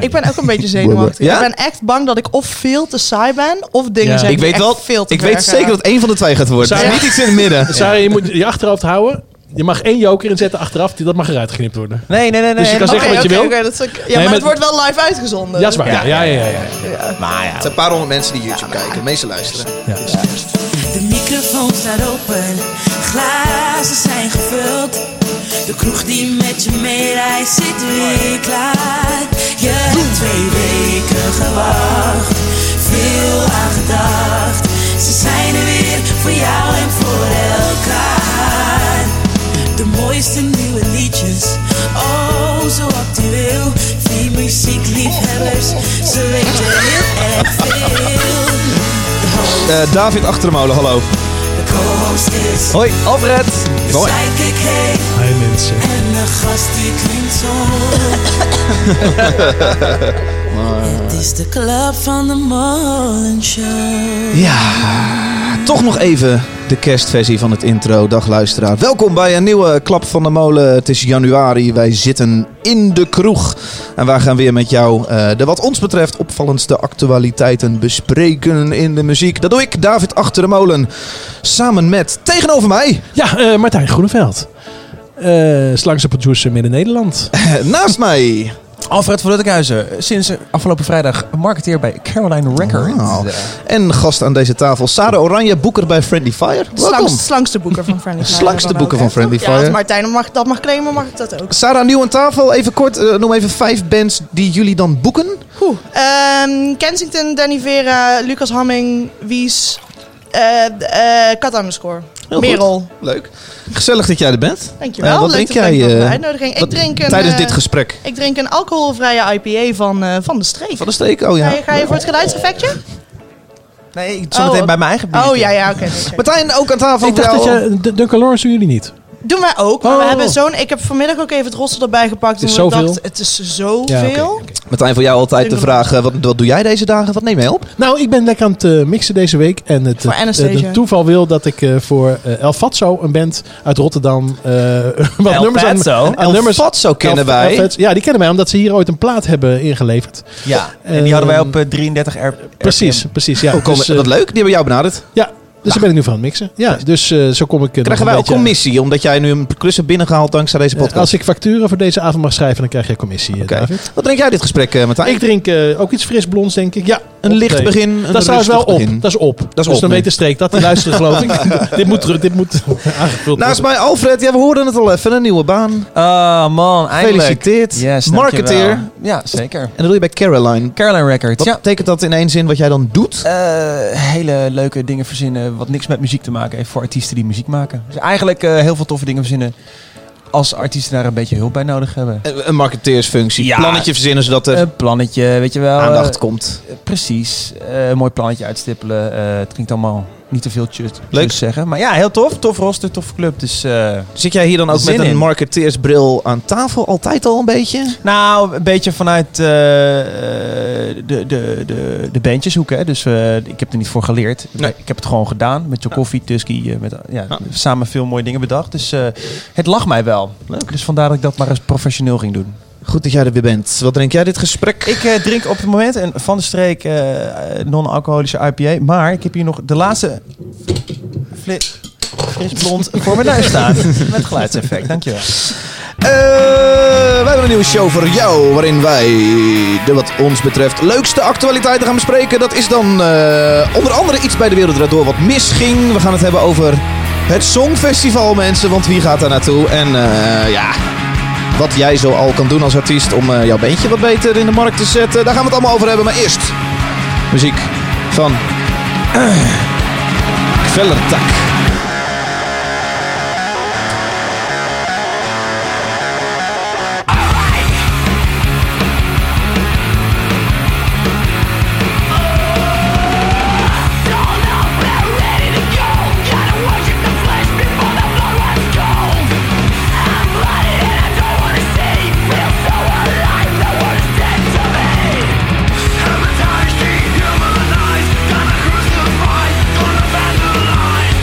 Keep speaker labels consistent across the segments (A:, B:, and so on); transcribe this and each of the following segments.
A: Ik ben ook een beetje zenuwachtig.
B: Ja?
A: Ik ben echt bang dat ik of veel te saai ben, of dingen
C: Ja.
A: zijn
B: Ik
A: die
B: weet
A: echt
B: wel,
A: veel te
B: ik weet
A: ver gaan.
B: zeker dat één van de twee gaat worden.
C: Zou-
B: Er is niet iets in het midden.
C: Sarah, je moet je achterhoofd houden. Je mag één joker inzetten achteraf. die- Dat mag eruit geknipt worden.
D: Nee, nee, nee. nee.
C: Dus je kan
A: Oké,
C: zeggen wat je
A: oké,
C: wil.
A: oké, dat is ook- ja,
C: maar
A: maar
C: het-
A: het wordt wel live uitgezonden.
C: Ja, is waar. Ja, ja, ja. ja,
B: Maar ja. Het zijn een paar honderd mensen die YouTube kijken. De meeste luisteren.
E: De microfoon staat open, glazen zijn gevuld. De kroeg die met je meereist zit weer klaar. Je hebt twee weken gewacht, veel aan gedacht. Ze zijn er weer voor jou en voor elkaar. De mooiste nieuwe liedjes, oh zo actueel. Vier muziekliefhebbers, ze weten heel erg veel.
B: Eh, David Achtermolen, hallo.
E: De co-host is
D: Hoi, Alfred.
B: Mooi.
E: Psychic heet
C: Hey, mensen.
E: en de gast die klinkt zo. Het is de club van de Mollenshow.
B: Ja, toch nog even de kerstversie van het intro. Dag luisteraar. Welkom bij een nieuwe Klap van de Molen. Het is januari, wij zitten in de kroeg. En wij gaan weer met jou eh, de wat ons betreft opvallendste actualiteiten bespreken in de muziek. Dat doe ik, David Achter de Molen. Samen met, tegenover mij,
C: Ja, eh, Martijn Groeneveld. Eh slangse producer Midden-Nederland.
B: naast mij.
D: Alfred van Ruttekhuizen. Sinds afgelopen vrijdag marketeer bij Caroline Records.
B: Wauw. En gast aan deze tafel, Sarah Oranje, boeker bij Friendly Fire. Welkom.
A: Slangs, slangste boeken van Friendly Fire.
B: Slangste
A: dan ook,
B: boeken
A: hè?
B: van Friendly
A: Ja,
B: Fire.
A: als Martijn mag, dat mag claimen, mag ik dat ook.
B: Sarah, nieuw aan tafel. Even kort, eh, noem even vijf bands die jullie dan boeken.
A: Oeh. Ehm, Kensington, Danny Vera, Lucas Hamming, Wies, eh eh Kat underscore.
B: Heel goed.
A: Merel.
B: Leuk. Gezellig dat jij er bent.
A: Dankjewel.
B: Eh, wat
A: Leuk
B: drink
A: dat
B: jij,
A: ik nog
B: eh,
A: een uitnodiging. Ik
B: Wat-
A: drink een,
B: tijdens
A: eh,
B: dit gesprek.
A: Ik drink een alcoholvrije IPA van, eh, van de streek.
B: Van de steek, oh ja.
A: Ga, je, ga je voor het geluidseffectje?
D: Nee, ik zat meteen
A: Oh,
D: bij mijn eigen bier.
A: Oh ja, ja, oké. oké, oké.
B: Martijn, ook aan tafel
C: Ik
B: voor
C: dacht dat
B: jou.
C: je... D- Duncan Lawrence doen jullie niet.
A: Doen wij ook. Maar we
C: Oh.
A: hebben zo'n. Ik heb vanmiddag ook even het rossel erbij gepakt.
C: Het is
A: omdat ik
C: zoveel.
A: dacht, het is zoveel.
C: Ja, oké, oké.
B: Martijn, voor jou altijd de
A: Drink
B: vraag, eh, wat, wat doe jij deze dagen? Wat neem jij op?
C: Nou, ik ben lekker aan het eh, mixen deze week. En het,
A: Voor
C: eh,
A: Anastasia.
C: het toeval wil dat ik eh, voor eh, El Fatso, een band uit Rotterdam, eh, wat
D: El
C: nummers aan-
D: Fatso?
C: aan
B: El
C: nummers-
B: Fatso kennen
C: El- El
B: wij.
C: Fatso- ja, die kennen wij, omdat ze hier ooit een plaat hebben ingeleverd.
D: Ja, en die hadden wij op eh, 33 R.
C: Precies, precies. Ja,
B: Oh, kom,
C: Dus, eh,
B: wat leuk, die hebben jou benaderd.
C: ja, dus daar ben ik nu van aan het mixen. Ja, dus eh, zo kom ik. eh,
B: Krijgen
C: nog
B: wij
C: een
B: ook
C: beetje-
B: commissie, omdat jij nu een klus hebt binnengehaald dankzij deze
C: Eh,
B: podcast.
C: Als ik facturen voor deze avond mag schrijven, dan krijg jij commissie, eh,
B: Oké.
C: David.
B: Wat drink jij dit gesprek, eh, Martijn?
C: Ik drink eh, ook iets fris blonds, denk ik. Ja,
B: een
C: op
B: licht
C: thee.
B: begin, een
C: Dat is trouwens wel
B: rustig
C: op.
B: begin.
C: Dat is op. dus
B: op
C: dan
B: nu.
C: weet de streek dat. Die luisteren geloof ik. dit moet, terug- dit moet aangevuld
B: Naast
C: worden.
B: mij Alfred, ja, we hoorden het al even, een nieuwe baan.
D: Oh man, eindelijk.
B: Gefeliciteerd.
D: Yes, dankjewel.
B: Marketeer.
D: Ja, zeker.
B: En dat doe je bij Caroline.
D: Caroline Records,
B: Wat
D: ja.
B: betekent dat in één zin wat jij dan doet?
D: Eh, hele leuke dingen verzinnen wat niks met muziek te maken heeft voor artiesten die muziek maken. Dus eigenlijk eh, heel veel toffe dingen verzinnen als artiesten daar een beetje hulp bij nodig hebben.
B: Eh, Een een marketeersfunctie.
D: Ja.
B: Plannetje verzinnen zodat er
D: Een plannetje, weet je wel.
B: aandacht komt.
D: Eh, precies. Eh, een mooi plannetje uitstippelen. Eh, het klinkt allemaal niet te veel chut
B: Leuk.
D: chut zeggen. Maar ja, heel tof. Tof roster, toffe club. Dus eh,
B: Zit jij hier dan ook
D: Zin
B: met een
D: in.
B: marketeersbril aan tafel altijd al een beetje?
D: Nou, een beetje vanuit eh, eh, de, de, de, de bandjeshoek. Hè? Dus eh, ik heb er niet voor geleerd.
B: Nee.
D: Ik heb het gewoon gedaan. Met Jokofi, Tusky. eh, met, ja,
B: Ja.
D: Samen veel mooie dingen bedacht. Dus eh, het lag mij wel. Dus vandaar dat ik dat maar eens professioneel ging doen.
B: Goed dat jij er weer bent. Wat drink jij dit gesprek?
D: Ik eh, drink op het moment een Van de Streek eh, eh, non-alcoholische IPA. Maar ik heb hier nog de laatste fli- fris blond voor mijn neus staan. Met geluidseffect, dankjewel.
B: Eh, wij hebben een nieuwe show voor jou, waarin wij de wat ons betreft leukste actualiteiten gaan bespreken. Dat is dan eh, onder andere iets bij de Wereld Draait Door wat misging. We gaan het hebben over het Songfestival, mensen, want wie gaat daar naartoe? En eh, ja, wat jij zo al kan doen als artiest om eh, jouw beentje wat beter in de markt te zetten. Daar gaan we het allemaal over hebben, maar eerst muziek van eh, Kvellertak.
F: Humanized, gonna crucify, gonna vandalize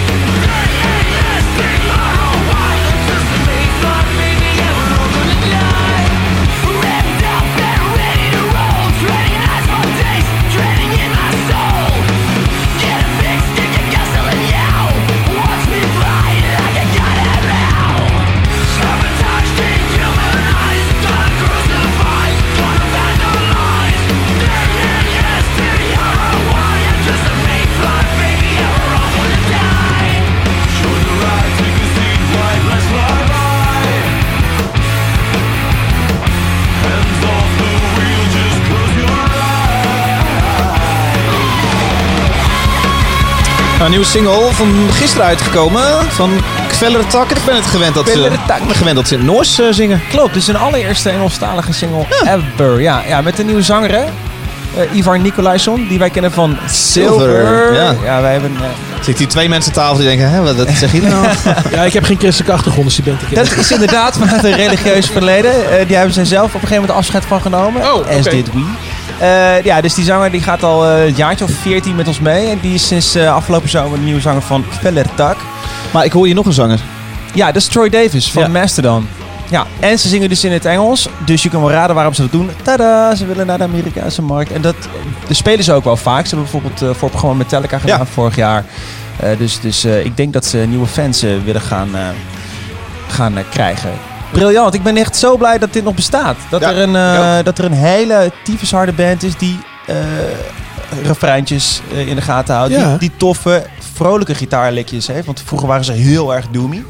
B: Nou, een nieuwe single van gisteren uitgekomen van Kveller Tak. Ik ben het gewend dat ze,
D: Kveller Tak.
B: ik ben gewend dat ze in het Noors eh, zingen.
D: Klopt, dus een allereerste Engelstalige single ever. Ja, ja, met een nieuwe zanger, hè? Eh, Ivar Nicolaison, die wij kennen van Silver.
B: Silver, ja.
D: wij hebben... eh,
B: Zitten hier twee mensen aan tafel die denken, hè, wat, wat zeg je nou?
C: Ja, ik heb geen christelijke achtergrond, dus die bent ik.
D: dat is inderdaad vanuit een religieus verleden. Eh, die hebben zij zelf op een gegeven moment afscheid van genomen.
C: Oh, oké.
D: As did we. Eh, ja, dus die zanger die gaat al eh, een jaartje of 14 met ons mee. En die is sinds eh, afgelopen zomer de nieuwe zanger van Kveller Tak.
B: maar ik hoor hier nog een zanger.
D: Ja, dat is Troy Davis van
B: Ja.
D: Mastodon. Ja, en ze zingen dus in het Engels. Dus je kan wel raden waarom ze dat doen. Tada, ze willen naar de Amerikaanse markt. En dat, dat spelen ze ook wel vaak. Ze hebben bijvoorbeeld eh, voor het programma Metallica gedaan
B: Ja.
D: vorig jaar. Eh, dus dus eh, ik denk dat ze nieuwe fans eh, willen gaan, eh, gaan eh, krijgen. Briljant. Ik ben echt zo blij dat dit nog bestaat. Dat,
B: Ja,
D: er, een, eh,
B: ik
D: dat er een hele tyfusharde band is die eh refreintjes eh, in de gaten houdt.
C: Ja.
D: Die, die toffe, vrolijke gitaarlikjes heeft. Want vroeger waren ze heel erg doomy.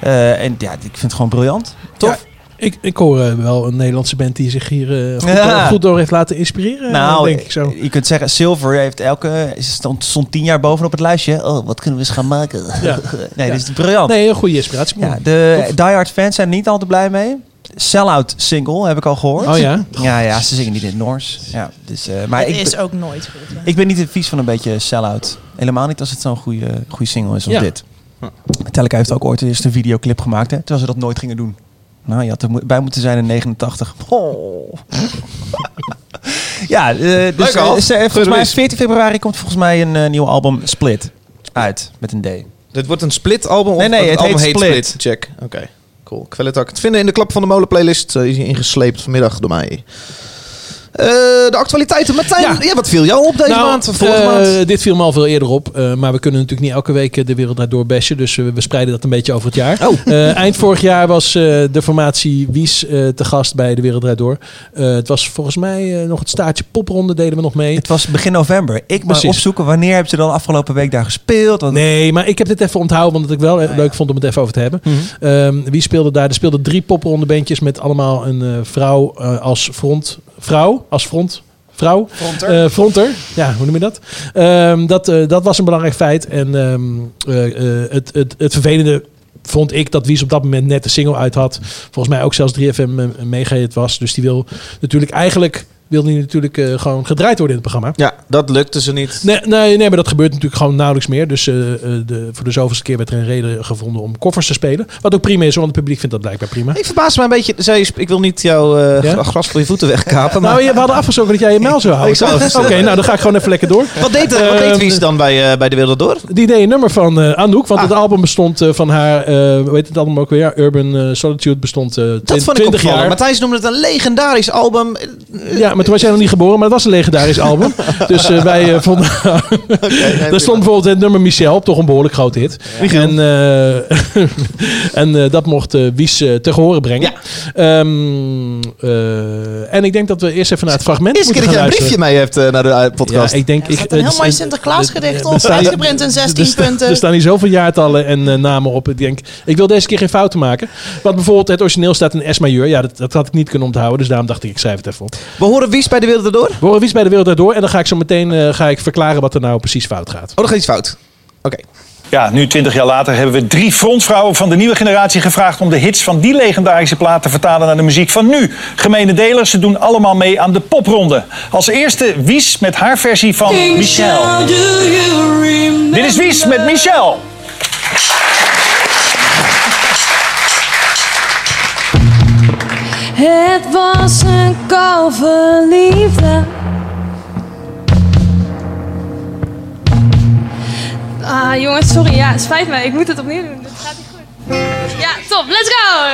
D: Eh, en ja, ik vind het gewoon briljant. Tof.
C: Ik, ik hoor eh, wel een Nederlandse band die zich hier eh, goed,
D: Ja.
C: door, goed door heeft laten inspireren. Nou, denk ik zo.
B: eh,
D: je kunt zeggen, Silver heeft elke, stond, stond tien jaar bovenop het lijstje. Oh, wat kunnen we eens gaan maken?
C: Ja.
D: Nee,
C: Ja.
D: dit is briljant.
C: Nee, een goede inspiratie.
D: Ja, de diehard fans zijn er niet al te blij mee. Sellout single heb ik al gehoord.
C: Oh ja?
D: Ja, ja, ze zingen niet in het Noors. Ja, dus, eh, maar
A: Het
D: ik,
A: is
D: ben-
A: ook nooit goed. hè.
D: ik ben niet vies van een beetje sell-out. Helemaal niet als het zo'n goede, goede single is als
C: Ja.
D: dit. Metallica heeft ook ooit eerst een videoclip gemaakt, hè, terwijl ze dat nooit gingen doen. Nou, je had er mo- bij moeten zijn in 89. Oh. ja, eh, dus
B: Leuk, Alf.
D: eh, ze- eh,
B: Goed
D: volgens mij
B: release.
D: 14 februari komt volgens mij een eh, nieuw album Split uit met een D.
B: Dit wordt een split album of
D: Nee, nee,
B: het,
D: het
B: album
D: heet Split.
B: Check. Oké, cool. Ik wil het ook te vinden in de klap van de molen playlist. eh, is hier ingesleept vanmiddag door mij. Eh, de actualiteiten. Martijn, ja.
C: Ja.
B: wat viel jou op deze
C: Nou,
B: maand? of Vorige
C: eh,
B: maand?
C: Dit viel me al veel eerder op. eh, maar we kunnen natuurlijk niet elke week eh, de wereld daardoor bashen. Dus eh, we spreiden dat een beetje over het jaar.
B: Oh.
C: Eh, eind vorig jaar was eh, de formatie Wies eh, te gast bij de Wereld Draait Door. Eh, het was volgens mij eh, nog het staartje popronde deden we nog mee.
D: Het was begin november. Ik moet
C: Precies.
D: opzoeken wanneer hebben ze dan afgelopen week daar gespeeld. Want
C: Nee, maar ik heb dit even onthouden, want ik wel eh,
B: Ah,
C: leuk vond om het even over te hebben. Ehm, wie speelde daar? Er speelden drie poprondebeentjes met allemaal een eh, vrouw eh, als front. Vrouw als front. Vrouw.
B: Fronter.
C: Eh, fronter. Ja, hoe noem je dat? Ehm, dat, eh, dat was een belangrijk feit. En ehm, eh, eh, het, het, het vervelende vond ik dat Wies op dat moment net de single uit had. Volgens mij ook zelfs 3FM een- een eh, mega hit was. Dus die wil natuurlijk eigenlijk... Wil die natuurlijk eh, gewoon gedraaid worden in het programma.
B: Ja, dat lukte ze niet.
C: Nee, nee, nee, maar dat gebeurt natuurlijk gewoon nauwelijks meer. Dus eh, eh, de, voor de zoveelste keer werd er een reden gevonden om koffers te spelen. Wat ook prima is, want het publiek vindt dat blijkbaar prima.
B: Ik verbaas me een beetje. Zij, ik wil niet jouw eh,
C: Ja?
B: gra- gras voor je voeten wegkapen. Maar
C: Nou, je- we hadden afgesproken dat jij je mijl zou
B: Ik
C: houden.
B: zou het
C: Oké,
B: verzinnen.
C: nou dan ga ik gewoon even lekker door.
B: wat deed, er, wat deed
C: Ehm,
B: Wies dan bij, eh, bij de Wereld Door?
C: Die deed een nummer van eh Anouk,
B: Ah.
C: want het album bestond eh, van haar, weet hoe heet het album ook weer? Ja, Urban eh, Solitude bestond eh
B: Dat
C: twin-
B: vond ik
C: 20
B: opvallend.
C: jaar.
B: Matthijs noemde het een legendarisch album.
C: Ja, maar toen was jij nog niet geboren, maar het was een legendarisch album. Dus eh, wij eh, vonden... Daar stond bijvoorbeeld het nummer Michel op, toch een behoorlijk groot hit. En, eh, en eh, dat mocht eh, Wies eh, te horen brengen. Ehm, eh, en ik denk dat we eerst even naar het fragment
B: Eerste keer
C: moeten
B: dat
C: gaan
B: jij een briefje
C: luisteren.
B: mee hebt eh, naar de eh, podcast.
C: Ja, ik denk...
A: Ja, er
C: ik,
A: staat een
C: eh,
A: heel mooi
C: er-
A: Sinterklaasgedicht
C: er
A: op,
C: staan-
A: uitgeprint in 16
C: er sta-
A: punten.
C: Er staan hier zoveel jaartallen en eh, namen op. Ik denk, ik wil deze keer geen fouten maken. Want bijvoorbeeld het origineel staat in S majeur. Ja, dat, dat had ik niet kunnen onthouden. Dus daarom dacht ik, ik schrijf het even op.
B: We horen Wies bij de Wereld Door. Oh,
C: We horen Wies bij de wereld daardoor. En dan ga ik zo meteen eh, ga ik verklaren wat er nou precies fout gaat.
B: dat gaat iets fout. Oké.
F: Ja, nu 20 jaar later hebben we drie frontvrouwen van de nieuwe generatie gevraagd om de hits van die legendarische plaat te vertalen naar de muziek van nu. Gemene delers, ze doen allemaal mee aan de popronde. Als eerste Wies met haar versie van Michel.
E: Michelle, do you remember?
F: Dit is Wies met Michel.
G: Het was een kou verliefde. Ah, jongens, sorry. Ja, het spijt me. Ik moet het opnieuw doen. Dit gaat niet goed. Ja, top. Let's go!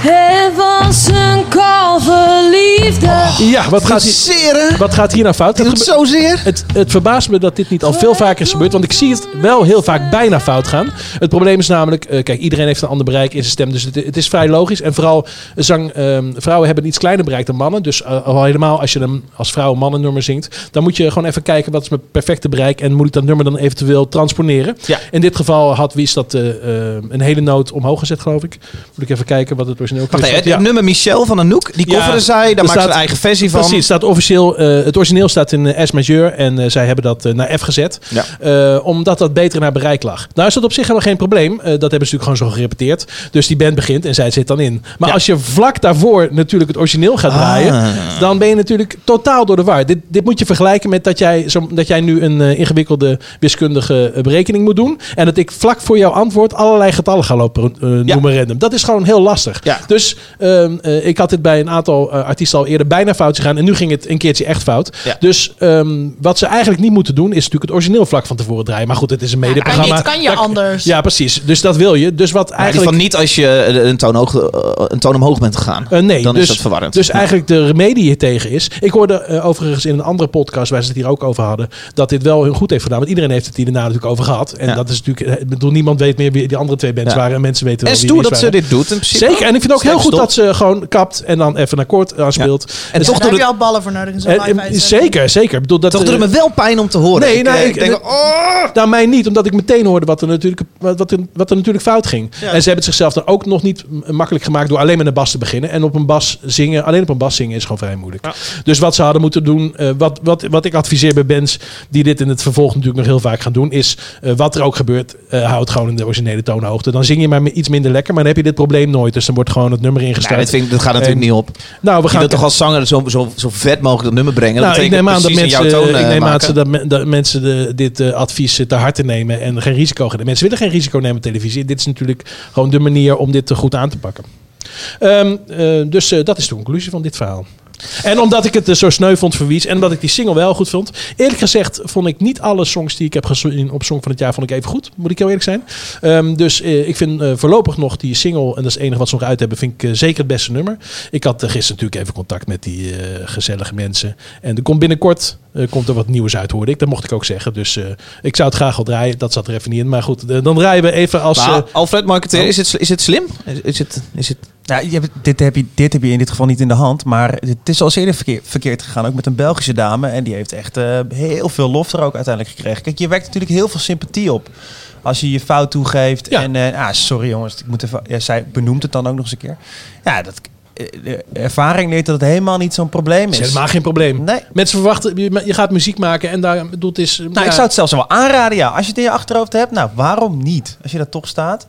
G: Het was een kou verliefde.
C: Ja, wat gaat, hier,
B: Seren.
C: wat gaat hier nou fout?
B: Die
C: Het
B: doet
C: gebe-
B: zozeer.
C: Het, het verbaast me dat dit niet al veel vaker is gebeurd. Want ik zie het wel heel vaak bijna fout gaan. Het probleem is namelijk, eh, kijk, iedereen heeft een ander bereik in zijn stem. Dus het, het is vrij logisch. En vooral zang, ehm, vrouwen hebben een iets kleiner bereik dan mannen. Dus eh, al helemaal als je hem als vrouw een mannennummer zingt. Dan moet je gewoon even kijken wat is mijn perfecte bereik. En moet ik dat nummer dan eventueel transponeren.
B: Ja.
C: In dit geval had Wies dat eh, eh, een hele noot omhoog gezet, geloof ik. Moet ik even kijken wat het origineel
B: Wacht
C: is.
B: even, het nummer Michel van Anouk, die coveren zij. Daar
C: er
B: maakte maakt
C: staat-
B: zijn eigen versie van.
C: Precies, staat officieel, eh, het origineel staat in eh, S majeur en eh, zij hebben dat eh, naar F gezet.
B: Ja.
C: Eh, omdat dat beter naar bereik lag. Nou is dat op zich helemaal geen probleem. Eh, dat hebben ze natuurlijk gewoon zo gerepeteerd. Dus die band begint en zij zit dan in. Maar als je vlak daarvoor natuurlijk het origineel gaat
B: Ah.
C: draaien, dan ben je natuurlijk totaal door de war. Dit, dit moet je vergelijken met dat jij, zo, dat jij nu een eh, ingewikkelde wiskundige eh, berekening moet doen. En dat ik vlak voor jouw antwoord allerlei getallen ga lopen eh,
B: Ja.
C: noemen random. Dat is gewoon heel lastig.
B: Ja.
C: Dus ehm, eh, ik had dit bij een aantal eh, artiesten al eerder bijna fout gegaan. En nu ging het een keertje echt fout.
B: Ja.
C: Dus ehm, wat ze eigenlijk niet moeten doen, is natuurlijk het origineel vlak van tevoren draaien. Maar goed, het is een
A: Maar
C: medeprogramma.
A: dit kan je
C: Dat-
A: anders.
C: Ja, precies. Dus dat wil je. Dus wat
B: Eigenlijk
C: eigenlijk.
B: van niet als je eh, een toon, hoog, eh, een toon omhoog bent gegaan.
C: Eh, nee,
B: dan
C: dus,
B: is dat verwarrend.
C: Dus eigenlijk de remedie hier tegen is. Ik hoorde eh, overigens in een andere podcast waar ze het hier ook over hadden. dat dit wel hun goed heeft gedaan. Want iedereen heeft het hier daarna natuurlijk over gehad. En
B: Ja.
C: dat is natuurlijk. eh, Ik bedoel, niemand weet meer wie die andere twee bands
B: Ja.
C: waren. En mensen weten wel
B: en
C: wie
B: stoer
C: die
B: dat ze
C: waren.
B: dit doet. In principe.
C: Zeker. En ik vind ook heel
B: Sterk
C: goed
B: stom.
C: dat ze gewoon kapt. en dan even een akkoord aanspeelt.
B: En
C: Dus-
B: toch
A: Daar heb
B: doet het,
A: je al ballen voor nodig in zo'n
C: Eh,
A: live
C: eh,
A: uitzending.
C: zeker, zeker. Ik bedoel, dat,
B: toch doet het
C: eh,
B: me wel pijn om te horen.
C: Nee, nou,
B: eh,
C: ik-
B: denk, oh,
C: Nou, mij niet, omdat ik meteen hoorde wat er natuurlijk, wat, wat er, wat er natuurlijk fout ging. En ze hebben het zichzelf dan ook nog niet m- makkelijk gemaakt door alleen met een bas te beginnen. En op een bas zingen, alleen op een bas zingen is gewoon vrij moeilijk. Dus wat ze hadden moeten doen, eh, wat, wat, wat ik adviseer bij bands die dit in het vervolg natuurlijk nog heel vaak gaan doen, is eh, wat er ook gebeurt, eh houd gewoon in de originele toonhoogte. Dan zing je maar iets minder lekker, maar dan heb je dit probleem nooit. Dus dan wordt gewoon het nummer
B: Nou,
C: ingestart.
B: dat, vind ik- dat gaat natuurlijk
C: En-
B: niet op.
C: nou, we
B: Je
C: gaan
B: wilt toch als zanger zo, zo, zo vet mogelijk dat nummer brengen.
C: nou,
B: dat
C: ik
B: betekent
C: neem aan dat
B: precies in
C: mensen,
B: jouw toon,
C: ik
B: eh,
C: neem aan
B: maken.
C: dat, men- dat mensen de, dit eh, advies eh, te harte nemen en geen risico gaan. Mensen willen geen risico nemen op televisie. Dit is natuurlijk gewoon de manier om dit eh, goed aan te pakken. Ehm, eh, dus eh, dat is de conclusie van dit verhaal. En omdat ik het eh, zo sneu vond voor Wies en omdat ik die single wel goed vond. Eerlijk gezegd vond ik niet alle songs die ik heb gezien op Song van het Jaar vond ik even goed. Moet ik heel eerlijk zijn. Ehm, dus eh, ik vind eh, voorlopig nog die single, en dat is het enige wat ze nog uit hebben, vind ik eh, zeker het beste nummer. Ik had eh, gisteren natuurlijk even contact met die eh, gezellige mensen. En er komt binnenkort eh, komt er wat nieuws uit, hoorde ik. Dat mocht ik ook zeggen. Dus eh, ik zou het graag al draaien. Dat zat er even niet in. Maar goed, eh, dan draaien we even als...
B: Maar
C: eh,
B: Alfred Marketeer, is het, is het slim? Is, is het, is het,
D: Ja, Nou, je hebt, dit, heb je, dit heb je in dit geval niet in de hand. Maar het is al eerder verkeer- verkeerd gegaan. Ook met een Belgische dame. En die heeft echt eh, heel veel lof er ook uiteindelijk gekregen. Kijk, je werkt natuurlijk heel veel sympathie op. Als je je fout toegeeft.
C: Ja.
D: En eh, ah, sorry jongens, ik moet even. Ja, zij benoemt het dan ook nog eens een keer. Ja, dat, eh, de ervaring leert dat het helemaal niet zo'n probleem
C: is
D: is.
C: helemaal geen probleem.
D: Nee.
C: Mensen verwachten, je, je gaat muziek maken en daar bedoelt het is... eh,
D: Nou,
C: ja,
D: ik zou het zelfs wel aanraden. Ja, als je het in je achterhoofd hebt, nou waarom niet? Als je dat toch staat,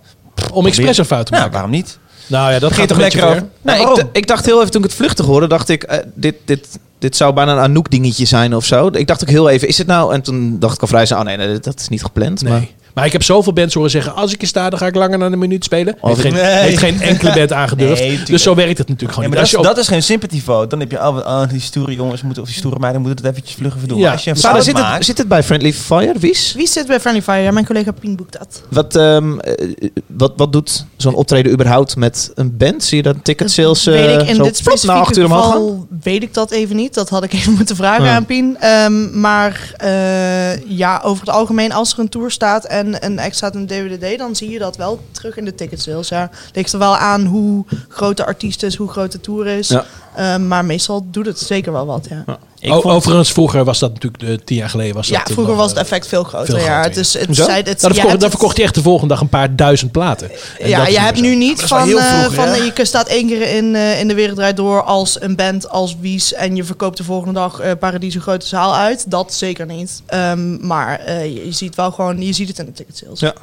C: om expres een fout te
D: nou
C: maken.
D: waarom niet?
C: Nou ja, dat
B: Vergeet
C: gaat
B: toch
C: toch
B: lekker over.
C: Ver.
B: Nou, ik,
D: waarom?
B: d- ik dacht heel even toen ik het vluchtig hoorde, dacht ik, eh, dit, dit, dit zou bijna een Anouk dingetje zijn of zo. Ik dacht ook heel even, is het nou? En toen dacht ik al vrij snel, oh nee, nee, dat is niet gepland.
C: Nee.
B: Maar,
C: Maar, ik heb zoveel bands horen zeggen: als ik er sta, dan ga ik langer dan een minuut spelen.
B: Of-
C: heeft, geen,
B: Nee.
C: heeft geen enkele band aangedurfd.
D: Nee, tuurlijk.
C: dus zo werkt het natuurlijk
D: Ja,
C: gewoon.
D: maar
C: niet.
D: dat,
C: Als
D: is,
C: je op-
D: dat is geen sympathyvote. Dan heb je, oh, wat- oh, die stoere jongens moeten, of die stoere meiden moeten het eventjes vlugger verdoen.
C: Ja.
D: Maar Als je een
B: maar
D: fout
B: zit,
D: maakt,
B: het, zit het bij Friendly Fire, Wies?
A: Wie zit bij Friendly Fire? Ja, mijn collega Pien boekt dat.
B: Wat, ehm, eh, wat, wat doet zo'n optreden überhaupt met een band? Zie je dan ticket sales eh
A: weet ik in
B: zo
A: dit
B: plop na acht
A: specifieke
B: uur omhoog gaan?
A: geval weet ik dat even niet. Dat had ik even moeten vragen
B: Ja.
A: aan Pien. Ehm, maar eh, ja, over het algemeen als er een tour staat en een act staat in de DWDD, dan zie je dat wel terug in de ticket sales. Ja, ligt er wel aan hoe groot de artiest is, hoe groot de tour is.
B: Ja.
A: Ehm, maar meestal doet het zeker wel wat. Ja,
D: ik
C: O-
D: vond-
C: Overigens, vroeger was dat natuurlijk eh, tien jaar geleden. Was
A: ja
C: dat eh,
A: vroeger
C: nog,
A: was het
C: eh,
A: effect veel groter.
C: veel
A: ja.
C: groter,
A: het is, het
B: Hoezo?
A: zei, het,
C: nou,
A: je
C: dan, verkocht,
A: hebt
C: dan
A: het-
C: verkocht hij echt de volgende dag een paar duizend platen. En
A: Ja,
C: dat is
A: je hebt
C: zo.
A: nu niet
D: wel
A: van,
D: heel
A: eh,
D: vroeger,
A: van
D: hè?
A: eh, je staat één keer in, eh, in de wereld draait door als een band als Wies en je verkoopt de volgende dag eh Paradiso grote zaal uit. Dat zeker niet. Ehm, maar eh, je, je ziet wel gewoon, je ziet het in de ticket sales.
B: Ja.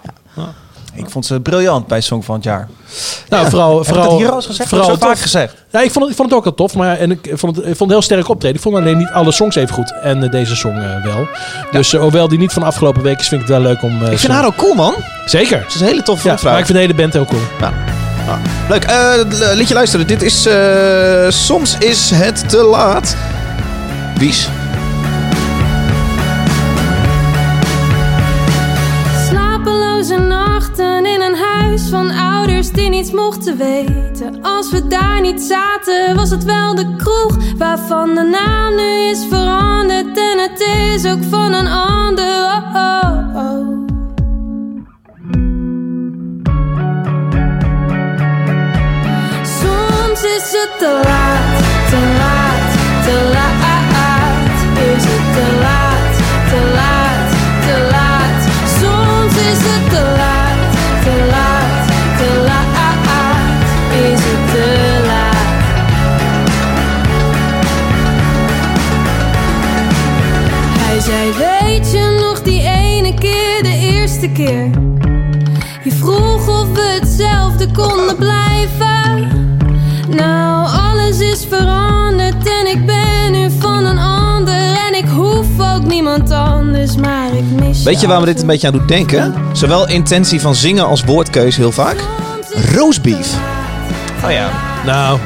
D: ik vond ze briljant bij Song van het Jaar.
C: Nou, vooral,
D: Heb ik dat
C: vooral,
D: hier al eens gezegd?
C: vooral
D: Vooral vaak
C: tof.
D: gezegd.
C: Ja, ik vond, het, ik vond het ook al tof, maar en ik, vond het, ik vond het heel sterk optreden. Ik vond alleen niet alle songs even goed. En eh, deze song eh, wel. Dus eh, hoewel die niet van de afgelopen week is, vind ik het wel leuk om. eh,
B: Ik vind
C: zo-
B: haar ook cool, man.
C: Zeker.
B: Ze is een hele toffe
C: Ja,
B: vrouw.
C: maar ik vind de hele band heel cool.
B: Ja. Ja. Leuk. Eh, l- liedje luisteren. Dit is... eh, soms is het te laat. Wies.
H: Slapeloze nachten in een huis van ouders die niets mochten weten. Als we daar niet zaten, was het wel de kroeg waarvan de naam nu is veranderd. En het is ook van een ander. Oh, oh, oh. Soms is het te laat, te laat, te laat. Is het te laat, te laat, te laat. Soms is het te laat, te laat, te laat. Is het te laat. zei: Weet je nog die ene keer, de eerste keer? Je vroeg of we hetzelfde konden blijven. Nou, alles is veranderd en ik ben nu van een ander. En ik hoef ook niemand anders, maar ik mis
B: Weet je waar we dit een beetje aan doet denken? Zowel intentie van zingen als woordkeus heel vaak. Roastbeef.
D: Oh ja.
C: Nou,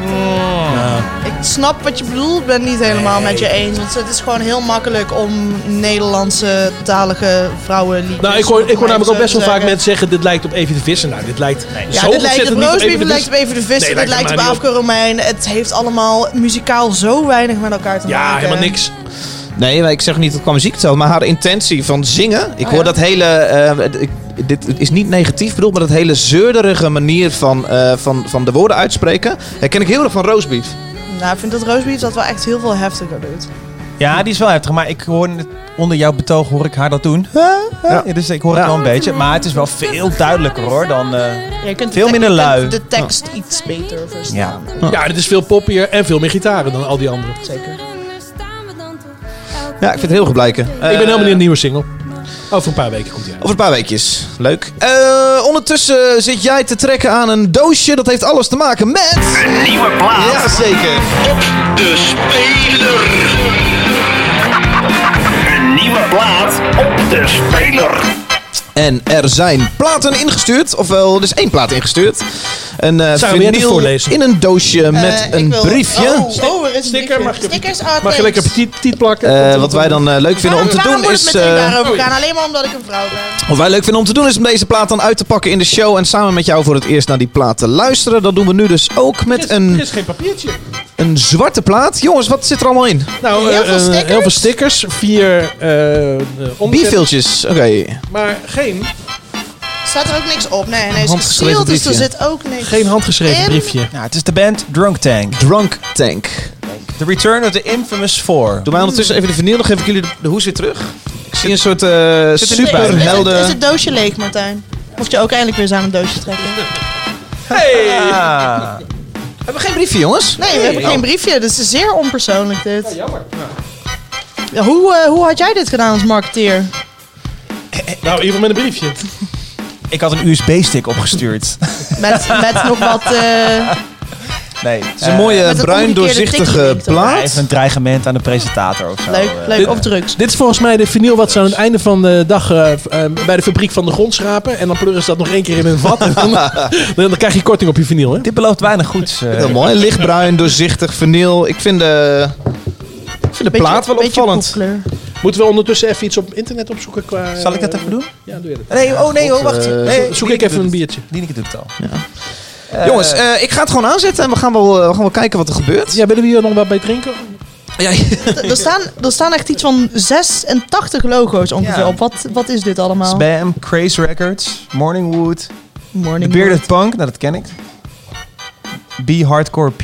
A: Ik snap wat je bedoelt, ik ben het niet helemaal met je eens. Want het is gewoon heel makkelijk om Nederlandse talige vrouwenliedjes...
C: nou ik hoor, ik hoor namelijk ook best wel vaak
A: met
C: mensen zeggen... dit lijkt op Evie de Visser. Nou, dit lijkt
A: Ja,
C: zo
A: dit lijkt
C: ontzettend
A: op
C: niet op Evie
A: Roosbeef,
C: de
A: dit lijkt op
C: Visser.
A: even de
C: Nee,
A: vissen, dit lijkt
C: lijkt er
A: op
C: maar niet
A: Afke Romein. Het heeft allemaal muzikaal zo weinig met elkaar te
C: Ja,
A: maken.
C: helemaal niks.
B: Nee, maar ik zeg niet dat qua muziek zo, maar haar intentie van zingen. Ik hoor dat hele. eh, d- ik- dit is niet negatief bedoeld, maar dat hele zeurderige manier van, eh, van, van de woorden uitspreken. Herken ik heel erg van roastbeef.
A: Nou, ik vind dat Roosbeef dat wel echt heel veel heftiger doet.
D: ja, die is wel heftig. Maar ik hoor net- onder jouw betoog hoor ik haar dat doen. Ja. dus ik hoor het
B: Ja.
D: wel een beetje. Maar het is wel veel duidelijker hoor dan... eh,
A: Je kunt
D: Veel
A: de
D: minder
A: je kunt
D: lui.
A: de tekst iets beter verstaan.
C: Ja, dit is veel poppier en veel meer gitaren dan al die anderen.
A: Zeker.
B: Ja, ik vind het heel goed blijken. Eh,
C: ik ben helemaal niet een nieuwe single. Over een paar weken komt hij uit.
B: Over een paar weekjes. Leuk. Eh, ondertussen zit jij te trekken aan een doosje. Dat heeft alles te maken met... Een nieuwe plaat. Jazeker.
I: De speler. Een nieuwe plaat op de speler.
B: En er zijn platen ingestuurd. Ofwel, er is één plaat ingestuurd. Een eh
C: Zou jij het
B: vinyl
C: voorlezen?
B: in een doosje met
A: Eh, ik
B: een
A: wil-
B: briefje.
A: Oh, oh, er is een
C: Sticker,
A: briefje.
C: mag je-
A: Stickers, art
C: Mag je lekker
A: tapes.
C: petit, petit plakken?
B: Eh,
C: Tot-
B: wat
C: tot-
B: wij dan eh, leuk vinden om te
A: Waarom-
B: doen
A: waarom moet
B: is...
A: het meteen
B: eh,
A: daarover gaan? Alleen maar omdat ik een vrouw ben.
B: Wat wij leuk vinden om te doen is om deze plaat dan uit te pakken in de show. En samen met jou voor het eerst naar die plaat te luisteren. Dat doen we nu dus ook
C: Er is-
B: met
C: Er
B: een,
C: is geen papiertje.
B: een zwarte plaat. Jongens, wat zit er allemaal in?
C: Nou,
A: Heel
C: eh,
A: veel
C: eh,
A: stickers?
C: heel veel stickers. Vier eh, eh, omzetten,
B: Bierviltjes. Oké.
C: Maar geen,
A: Staat er ook niks op? Nee, nee, het is
B: Handgeschreven
A: gestield, dus er
B: briefje.
A: zit ook niks. Ehm,
C: geen handgeschreven
A: En-
C: briefje.
D: nou, het is de band Drunk Tank.
B: Drunk Tank.
D: The Return of the Infamous Four.
B: Doe mij ondertussen even de vinyl, dan geef ik jullie de, de hoes weer terug. Ik zie een soort eh
D: Zit er niet bij?
A: Is het, is
B: superhelden...
A: het doosje leeg, Martijn? Mocht je ook eindelijk weer eens aan een doosje trekken?
D: Ah.
B: We hebben geen briefje, jongens.
A: Nee, we hebben geen briefje. Dus het is zeer onpersoonlijk dit. Ja, jammer. hoe, eh, hoe had jij dit gedaan als marketeer?
C: Nou, iemand met een briefje.
D: Ik had een USB-stick opgestuurd.
A: Met, met nog wat... eh,
D: Nee.
B: Het is een mooie
A: Met een
B: bruin
A: omgekeerde tikkie,
B: doorzichtige
A: denk ik,
B: plaat.
D: Even een dreigement aan de presentator of
B: Oh,
D: zo.
A: leuk,
D: eh.
A: leuk op drugs.
C: Dit is volgens mij de vinyl wat ze aan het einde van de dag eh, v- eh, bij de fabriek van de grond schrapen. En dan pleuren ze dat nog één keer in hun vat. En dan, dan krijg je korting op je vinyl, hè?
D: Dit belooft weinig goeds. eh.
B: Heel mooi. Lichtbruin, doorzichtig, vinyl. Ik vind eh, de, ik vind de plaat wel opvallend.
A: Beetje
C: Moeten we ondertussen even iets op internet opzoeken qua... eh,
D: Zal ik dat even doen?
C: Ja, doe je dat.
D: Nee, oh nee, oh, wacht.
B: eh,
D: Nee,
C: Zoek ik even een biertje.
D: Lieneke doet het al.
B: Jongens, eh, ik ga het gewoon aanzetten en we gaan wel, eh, we gaan wel kijken wat er gebeurt.
C: Ja, willen we hier nog wat bij drinken?
B: Ja,
A: poepkleur. Er staan, er staan echt iets van 86 logo's ongeveer
D: Ja.
A: op. Wat, wat is dit allemaal?
D: Spam, Craze Records, Morningwood, The
A: Morning
D: Bearded Punk, nou dat ken ik. B Hardcore P,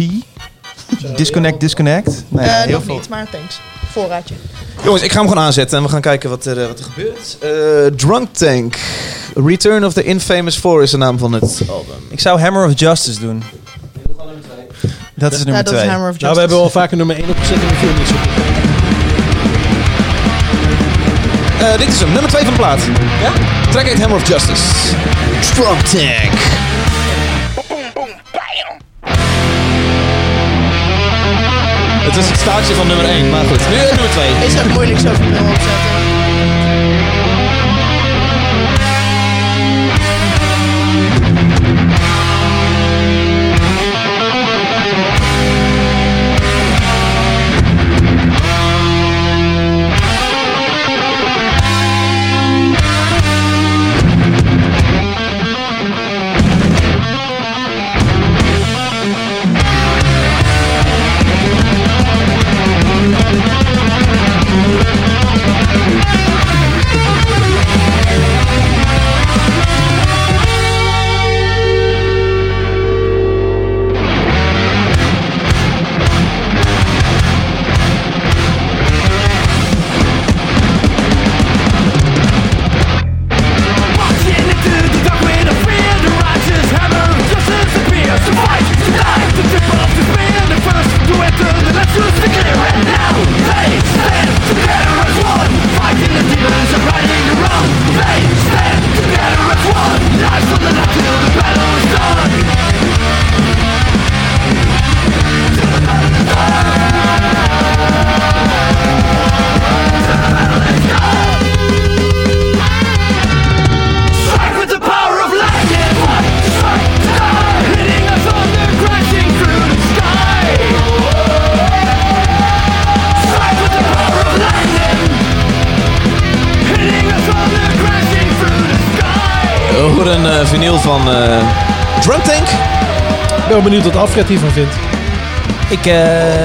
D: Disconnect Disconnect. Nou
A: Wood.
D: ja,
A: Eh,
D: heel
A: nog
D: veel.
A: niet, maar thanks. Voorraadje.
B: Jongens, ik ga hem gewoon aanzetten en we gaan kijken wat er, eh, wat er gebeurt. Eh, Drunk Tank. Return of the Infamous Four is de naam van het album.
D: Ik zou Hammer of Justice doen. Dat is
A: Ja,
D: nummer
A: dat is
D: 2.
A: Hammer of
C: Nou, we
A: Justice.
C: hebben al vaker nummer 1 opgezet en we vinden het niet zo goed.
B: Eh, dit is hem, nummer 2 van de plaat. Ja? Track 8 Hammer of Justice. Drunk Tank. Het is het staartje van nummer 1, maar goed. Nu eh, nummer 2.
A: Is dat moeilijk zo van nul opzetten?
B: Drunk voor een eh, vinyl van eh Drum Tank.
C: Ik ben wel benieuwd wat Alfred hiervan vindt.
D: Ik, eh,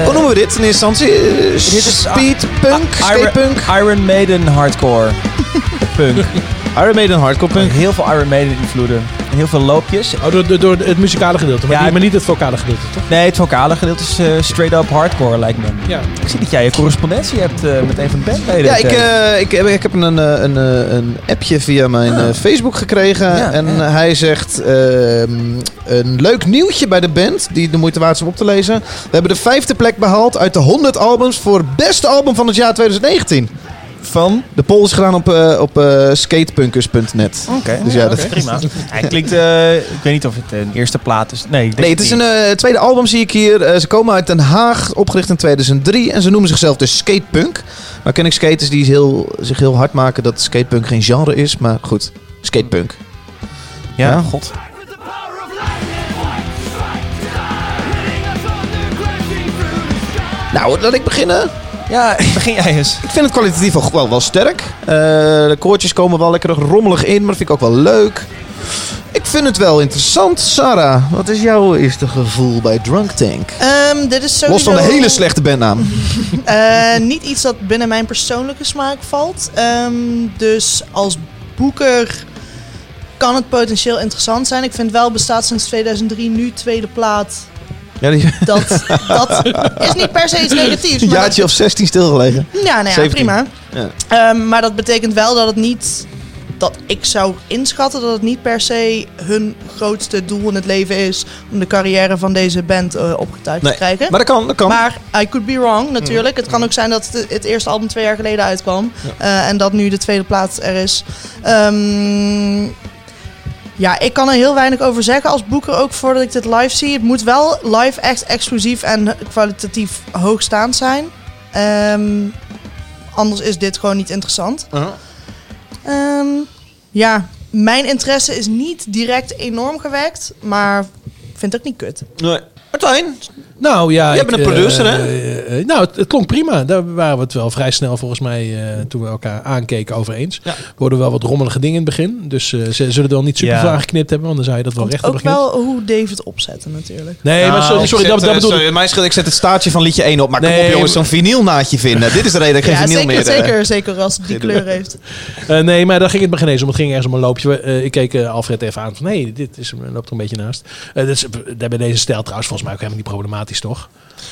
B: Hoe noemen we dit in eerste instantie? Eh,
D: is-
B: Speedpunk?
D: Iron,
B: Skatepunk?
D: Iron Maiden hardcore. punk.
B: Iron Maiden hardcore punk.
D: Heel veel Iron Maiden invloeden. Heel veel loopjes.
C: Oh, door, door, door het muzikale gedeelte, maar,
D: Ja,
C: niet-
D: ik-
C: maar niet het vocale gedeelte, toch?
D: Nee, het vocale gedeelte is eh, straight up hardcore lijkt me.
C: Ja.
D: Ik zie dat jij je correspondentie hebt eh, met een van de bandleden.
B: Ja, ik,
D: Ted.
B: eh, ik, heb- ik heb een, eh, een, eh, een appje via mijn eh, Facebook gekregen.
D: Ah. Ja,
B: en eh,
D: ja.
B: hij zegt ehm, een leuk nieuwtje bij de band, die de moeite waard is om op te lezen. We hebben de vijfde plek behaald uit de 100 albums voor beste album van het jaar 2019.
D: van.
B: De poll is gedaan op, eh, op eh, skatepunkers.net.
D: Oh, Oké,
B: Dus ja, dat-
D: prima. Hij klinkt, eh, ik weet niet of het een eerste plaat is. Nee, ik denk
B: Nee, het is een eh, tweede album zie ik hier. Eh, ze komen uit Den Haag, opgericht in 2003. En ze noemen zichzelf de skatepunk. Maar ken ik skaters die heel, zich heel hard maken dat skatepunk geen genre is. Maar goed, skatepunk.
D: Ja,
B: Ja.
D: god.
B: Nou, laat ik beginnen.
D: Ja, begin jij eens.
B: Ik vind het kwalitatief wel, wel, wel sterk. Eh, de koortjes komen wel lekker rommelig in, maar vind ik ook wel leuk. Ik vind het wel interessant. Sarah, wat is jouw eerste gevoel bij Drunk Tank?
A: Ehm, dit is sowieso...
B: Los van de hele slechte bandnaam.
A: Eh, niet iets dat binnen mijn persoonlijke smaak valt. Ehm, dus als boeker kan het potentieel interessant zijn. Ik vind wel, bestaat sinds 2003 nu tweede plaat.
B: Ja, die
A: Dat, dat is niet per se iets negatiefs. maar
B: een
A: dat-
B: jaartje of 16 stilgelegen.
A: ja, nou ja
B: 17.
A: prima.
B: Ja.
A: Ehm, maar dat betekent wel dat het niet... Dat ik zou inschatten dat het niet per se hun grootste doel in het leven is... om de carrière van deze band eh, opgetuigd
B: Nee,
A: te krijgen.
B: Maar dat kan, dat kan.
A: Maar I could be wrong, natuurlijk. Het kan ook zijn dat het, het eerste album twee jaar geleden uitkwam. eh, en dat nu de tweede plaats er is. Ehm, ja, ik kan er heel weinig over zeggen als boeker ook voordat ik dit live zie. Het moet wel live echt exclusief en kwalitatief hoogstaand zijn. Ehm, anders is dit gewoon niet interessant. Ehm, ja, mijn interesse is niet direct enorm gewekt, maar vind het ook niet kut.
B: Nee. Martijn,
C: Nou ja.
B: Jij
C: ik,
B: bent een producer,
C: eh,
B: hè?
C: eh, eh, nou, het, het klonk prima. Daar waren we het wel vrij snel volgens mij eh, toen we elkaar aankeken over eens.
B: Ja.
C: We hoorden wel wat rommelige dingen in het begin. Dus eh, ze zullen er wel niet super
D: Ja.
C: veel aangeknipt hebben, want dan zou je dat wel recht
A: Ook
C: hebben geknipt.
A: wel hoe David opzetten natuurlijk.
C: Nee,
B: Ah,
C: maar sorry, sorry dat, dat bedoel ik.
B: eh, Mijn schuld, ik zet het staartje van liedje 1 op. Maar kom
C: Nee,
B: op jongens,
C: maar-
B: zo'n vinylnaadje vinden. Dit is de reden dat ik geen
A: ja,
B: vinyl
A: zeker,
B: meer... eh,
A: zeker, zeker als het die kleur heeft.
C: Eh, nee, maar daar ging het me geen eens om. Het ging ergens om een loopje. Eh, ik keek eh, Alfred even aan van, hé, hey, dit is, hem, loopt er een beetje naast. Eh, dit is, daar bij deze stijl trouwens volgens mij ook helemaal niet problematisch, toch?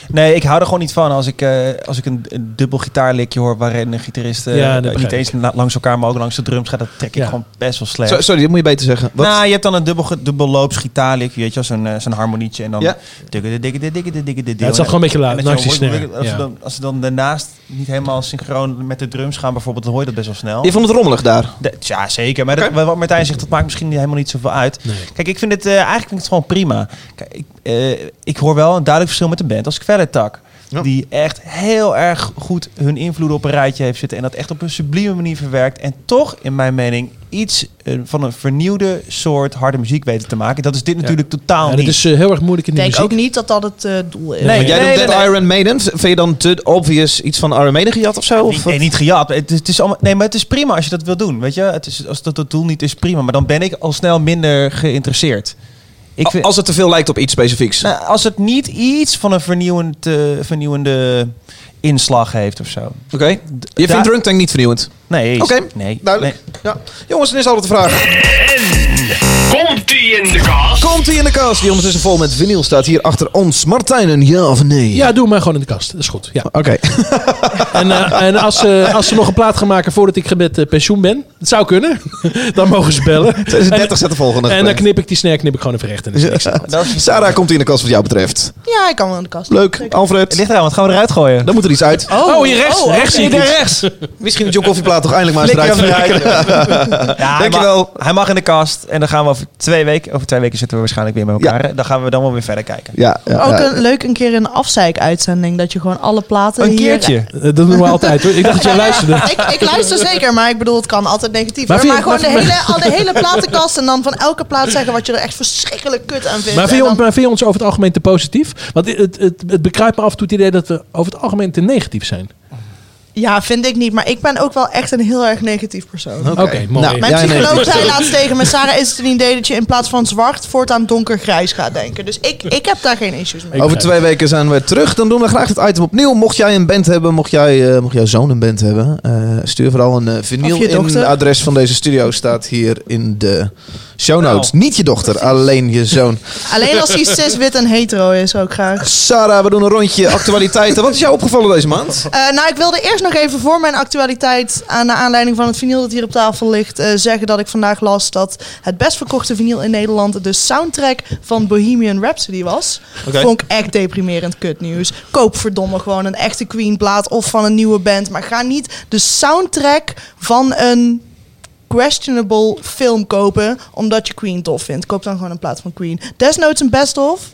D: Nee, ik hou er gewoon niet van als ik, eh, als ik een, een dubbel gitaarlikje hoor waarin een gitarist eh,
C: Ja, dat
D: niet
C: begrijp
D: eens la- langs elkaar, maar ook langs de drums gaat. Dat trek ik
C: Ja.
D: gewoon best wel slecht.
B: Zo- Sorry, dat moet je beter zeggen. Wat?
D: Nou, je hebt dan een dubbel, dubbel loops gitaarlikje, weet je wel, zo'n eh, zo'n harmonietje. En dan
B: Ja.
D: dikke, dikke, dikke, dikke, dikke, dikke.
C: Ja, het zat gewoon een beetje laat.
D: En dat
C: Naast
D: je
C: die
D: dan-
C: snaren,
D: Als ze
C: ja.
D: dan- als ze dan daarnaast niet helemaal synchroon met de drums gaan bijvoorbeeld, dan hoor je dat best wel snel.
B: je vond het rommelig daar.
D: De- ja, zeker. Maar dat- wat Martijn zegt, dat maakt misschien niet- helemaal niet zoveel uit.
C: Nee.
D: Kijk, ik vind het eh, eigenlijk vind ik het gewoon prima. Kijk, ik, eh, ik hoor wel een duidelijk verschil met de band als Kvelletak.
B: Ja.
D: Die echt heel erg goed hun invloeden op een rijtje heeft zitten. En dat echt op een sublieme manier verwerkt. En toch, in mijn mening, iets eh, van een vernieuwde soort harde muziek weten te maken. Dat is dit natuurlijk totaal
C: Ja,
D: niet.
C: dit is eh, heel erg moeilijk in
A: Ik
C: de
A: denk
C: muziek.
A: ook niet dat dat het eh, doel is.
D: Nee,
B: Want jij
D: nee,
B: doet
D: nee,
B: Dead
D: nee.
B: Iron Maiden. Vind je dan te obvious iets van Iron Maiden gejat of zo? Of
D: Niet- nee,
B: wat?
D: niet gejat. Het is, het is allemaal, nee, maar het is prima als je dat wil doen. Weet je? Het is, als dat het doel niet is, prima. Maar dan ben ik al snel minder geïnteresseerd.
C: Oh.
D: Ik vind-
B: eh, Als het te veel lijkt op iets specifieks.
D: Nou, als het niet iets van een vernieuwend, eh, vernieuwende inslag heeft of zo.
B: Oké. Je
D: Daar-
B: vindt Drunk Tank niet vernieuwend?
D: Nee.
B: Oké,
D: nee,
B: Duidelijk. Ja. Jongens, dan is altijd de vraag.
I: Komt ie in de kast?
B: Komt hij in de kast? Die ondertussen vol met vinyl staat hier achter ons. Martijn, een ja of nee?
C: Ja, doe maar gewoon in de kast. Dat is goed. Ja.
B: Oké.
C: En, eh, en als, ze- als ze nog een plaat gaan maken voordat ik met eh, pensioen ben, dat zou kunnen, dan mogen ze bellen.
B: 36 zet de volgende.
C: En dan knip ik die snare knip ik gewoon even recht. En
B: Sarah komt hij in de kast wat jou betreft.
A: Ja, ik kan wel in de kast.
B: Leuk.
D: Het
B: Alfred,
D: ligt eraan, wat gaan we eruit gooien?
B: dan moet er iets uit.
C: oh, hier rechts. rechts zie ik iets.
D: rechts.
B: Misschien dat John Koffieplaat toch eindelijk maar eens eruit
D: Flikker hem
B: flikkeren.
D: Ja, hij,
B: Dankjewel.
D: mag, hij mag in de kast. En dan gaan we over twee weken. Over twee weken zitten we waarschijnlijk weer met elkaar. hè? Dan gaan we dan wel weer verder kijken.
B: Ja, ja,
A: Ook
B: ja.
A: een, leuk een keer een afzeik-uitzending. Dat je gewoon alle platen
D: Een
A: hier-
D: keertje.
C: Eh, Dat doen we altijd hoor. Ik dacht dat jij luisterde.
A: Ik, ik luister zeker, maar ik bedoel, het kan altijd negatief. Maar,
C: Maar
A: maar
C: vind je-
A: gewoon de
C: maar-
A: hele, al de hele platenkast en dan van elke plaat zeggen wat je er echt verschrikkelijk kut aan vindt.
C: Maar
A: En
C: vind, je,
A: dan-
C: ons- maar vind je ons over het algemeen te positief? Want het, het, het, bekruipt me af en toe het idee dat we over het algemeen te negatief zijn.
A: Ja, vind ik niet. Maar ik ben ook wel echt een heel erg negatief persoon.
C: Oké, mooi.
B: Nou,
A: Mijn
B: ja, nee.
A: psycholoog zei laatst tegen me, Sarah, is het een idee dat je in plaats van zwart voortaan donkergrijs gaat denken? Dus ik, ik heb daar geen issues mee.
B: Over twee weken zijn we terug. Dan doen we graag het item opnieuw. Mocht jij een band hebben, mocht, jij, eh, mocht jouw zoon een band hebben, eh, stuur vooral een eh, vinyl
A: Of je
B: in.
A: dochter.
B: Het adres van deze studio staat hier in de show notes. Niet je dochter, alleen je zoon.
A: Alleen als hij cis, wit en hetero is ook graag.
B: Sarah, we doen een rondje actualiteiten. Wat is jou opgevallen deze maand?
A: Eh, nou, ik wilde eerst nog even voor mijn actualiteit, aan naar aanleiding van het vinyl dat hier op tafel ligt, eh, zeggen dat ik vandaag las dat het best verkochte vinyl in Nederland de soundtrack van Bohemian Rhapsody was.
B: Oké.
A: Vond ik echt deprimerend kutnieuws. Koop verdomme gewoon een echte Queen plaat of van een nieuwe band, maar ga niet de soundtrack van een questionable film kopen omdat je Queen tof vindt. Koop dan gewoon een plaat van Queen. Desnoods een best of,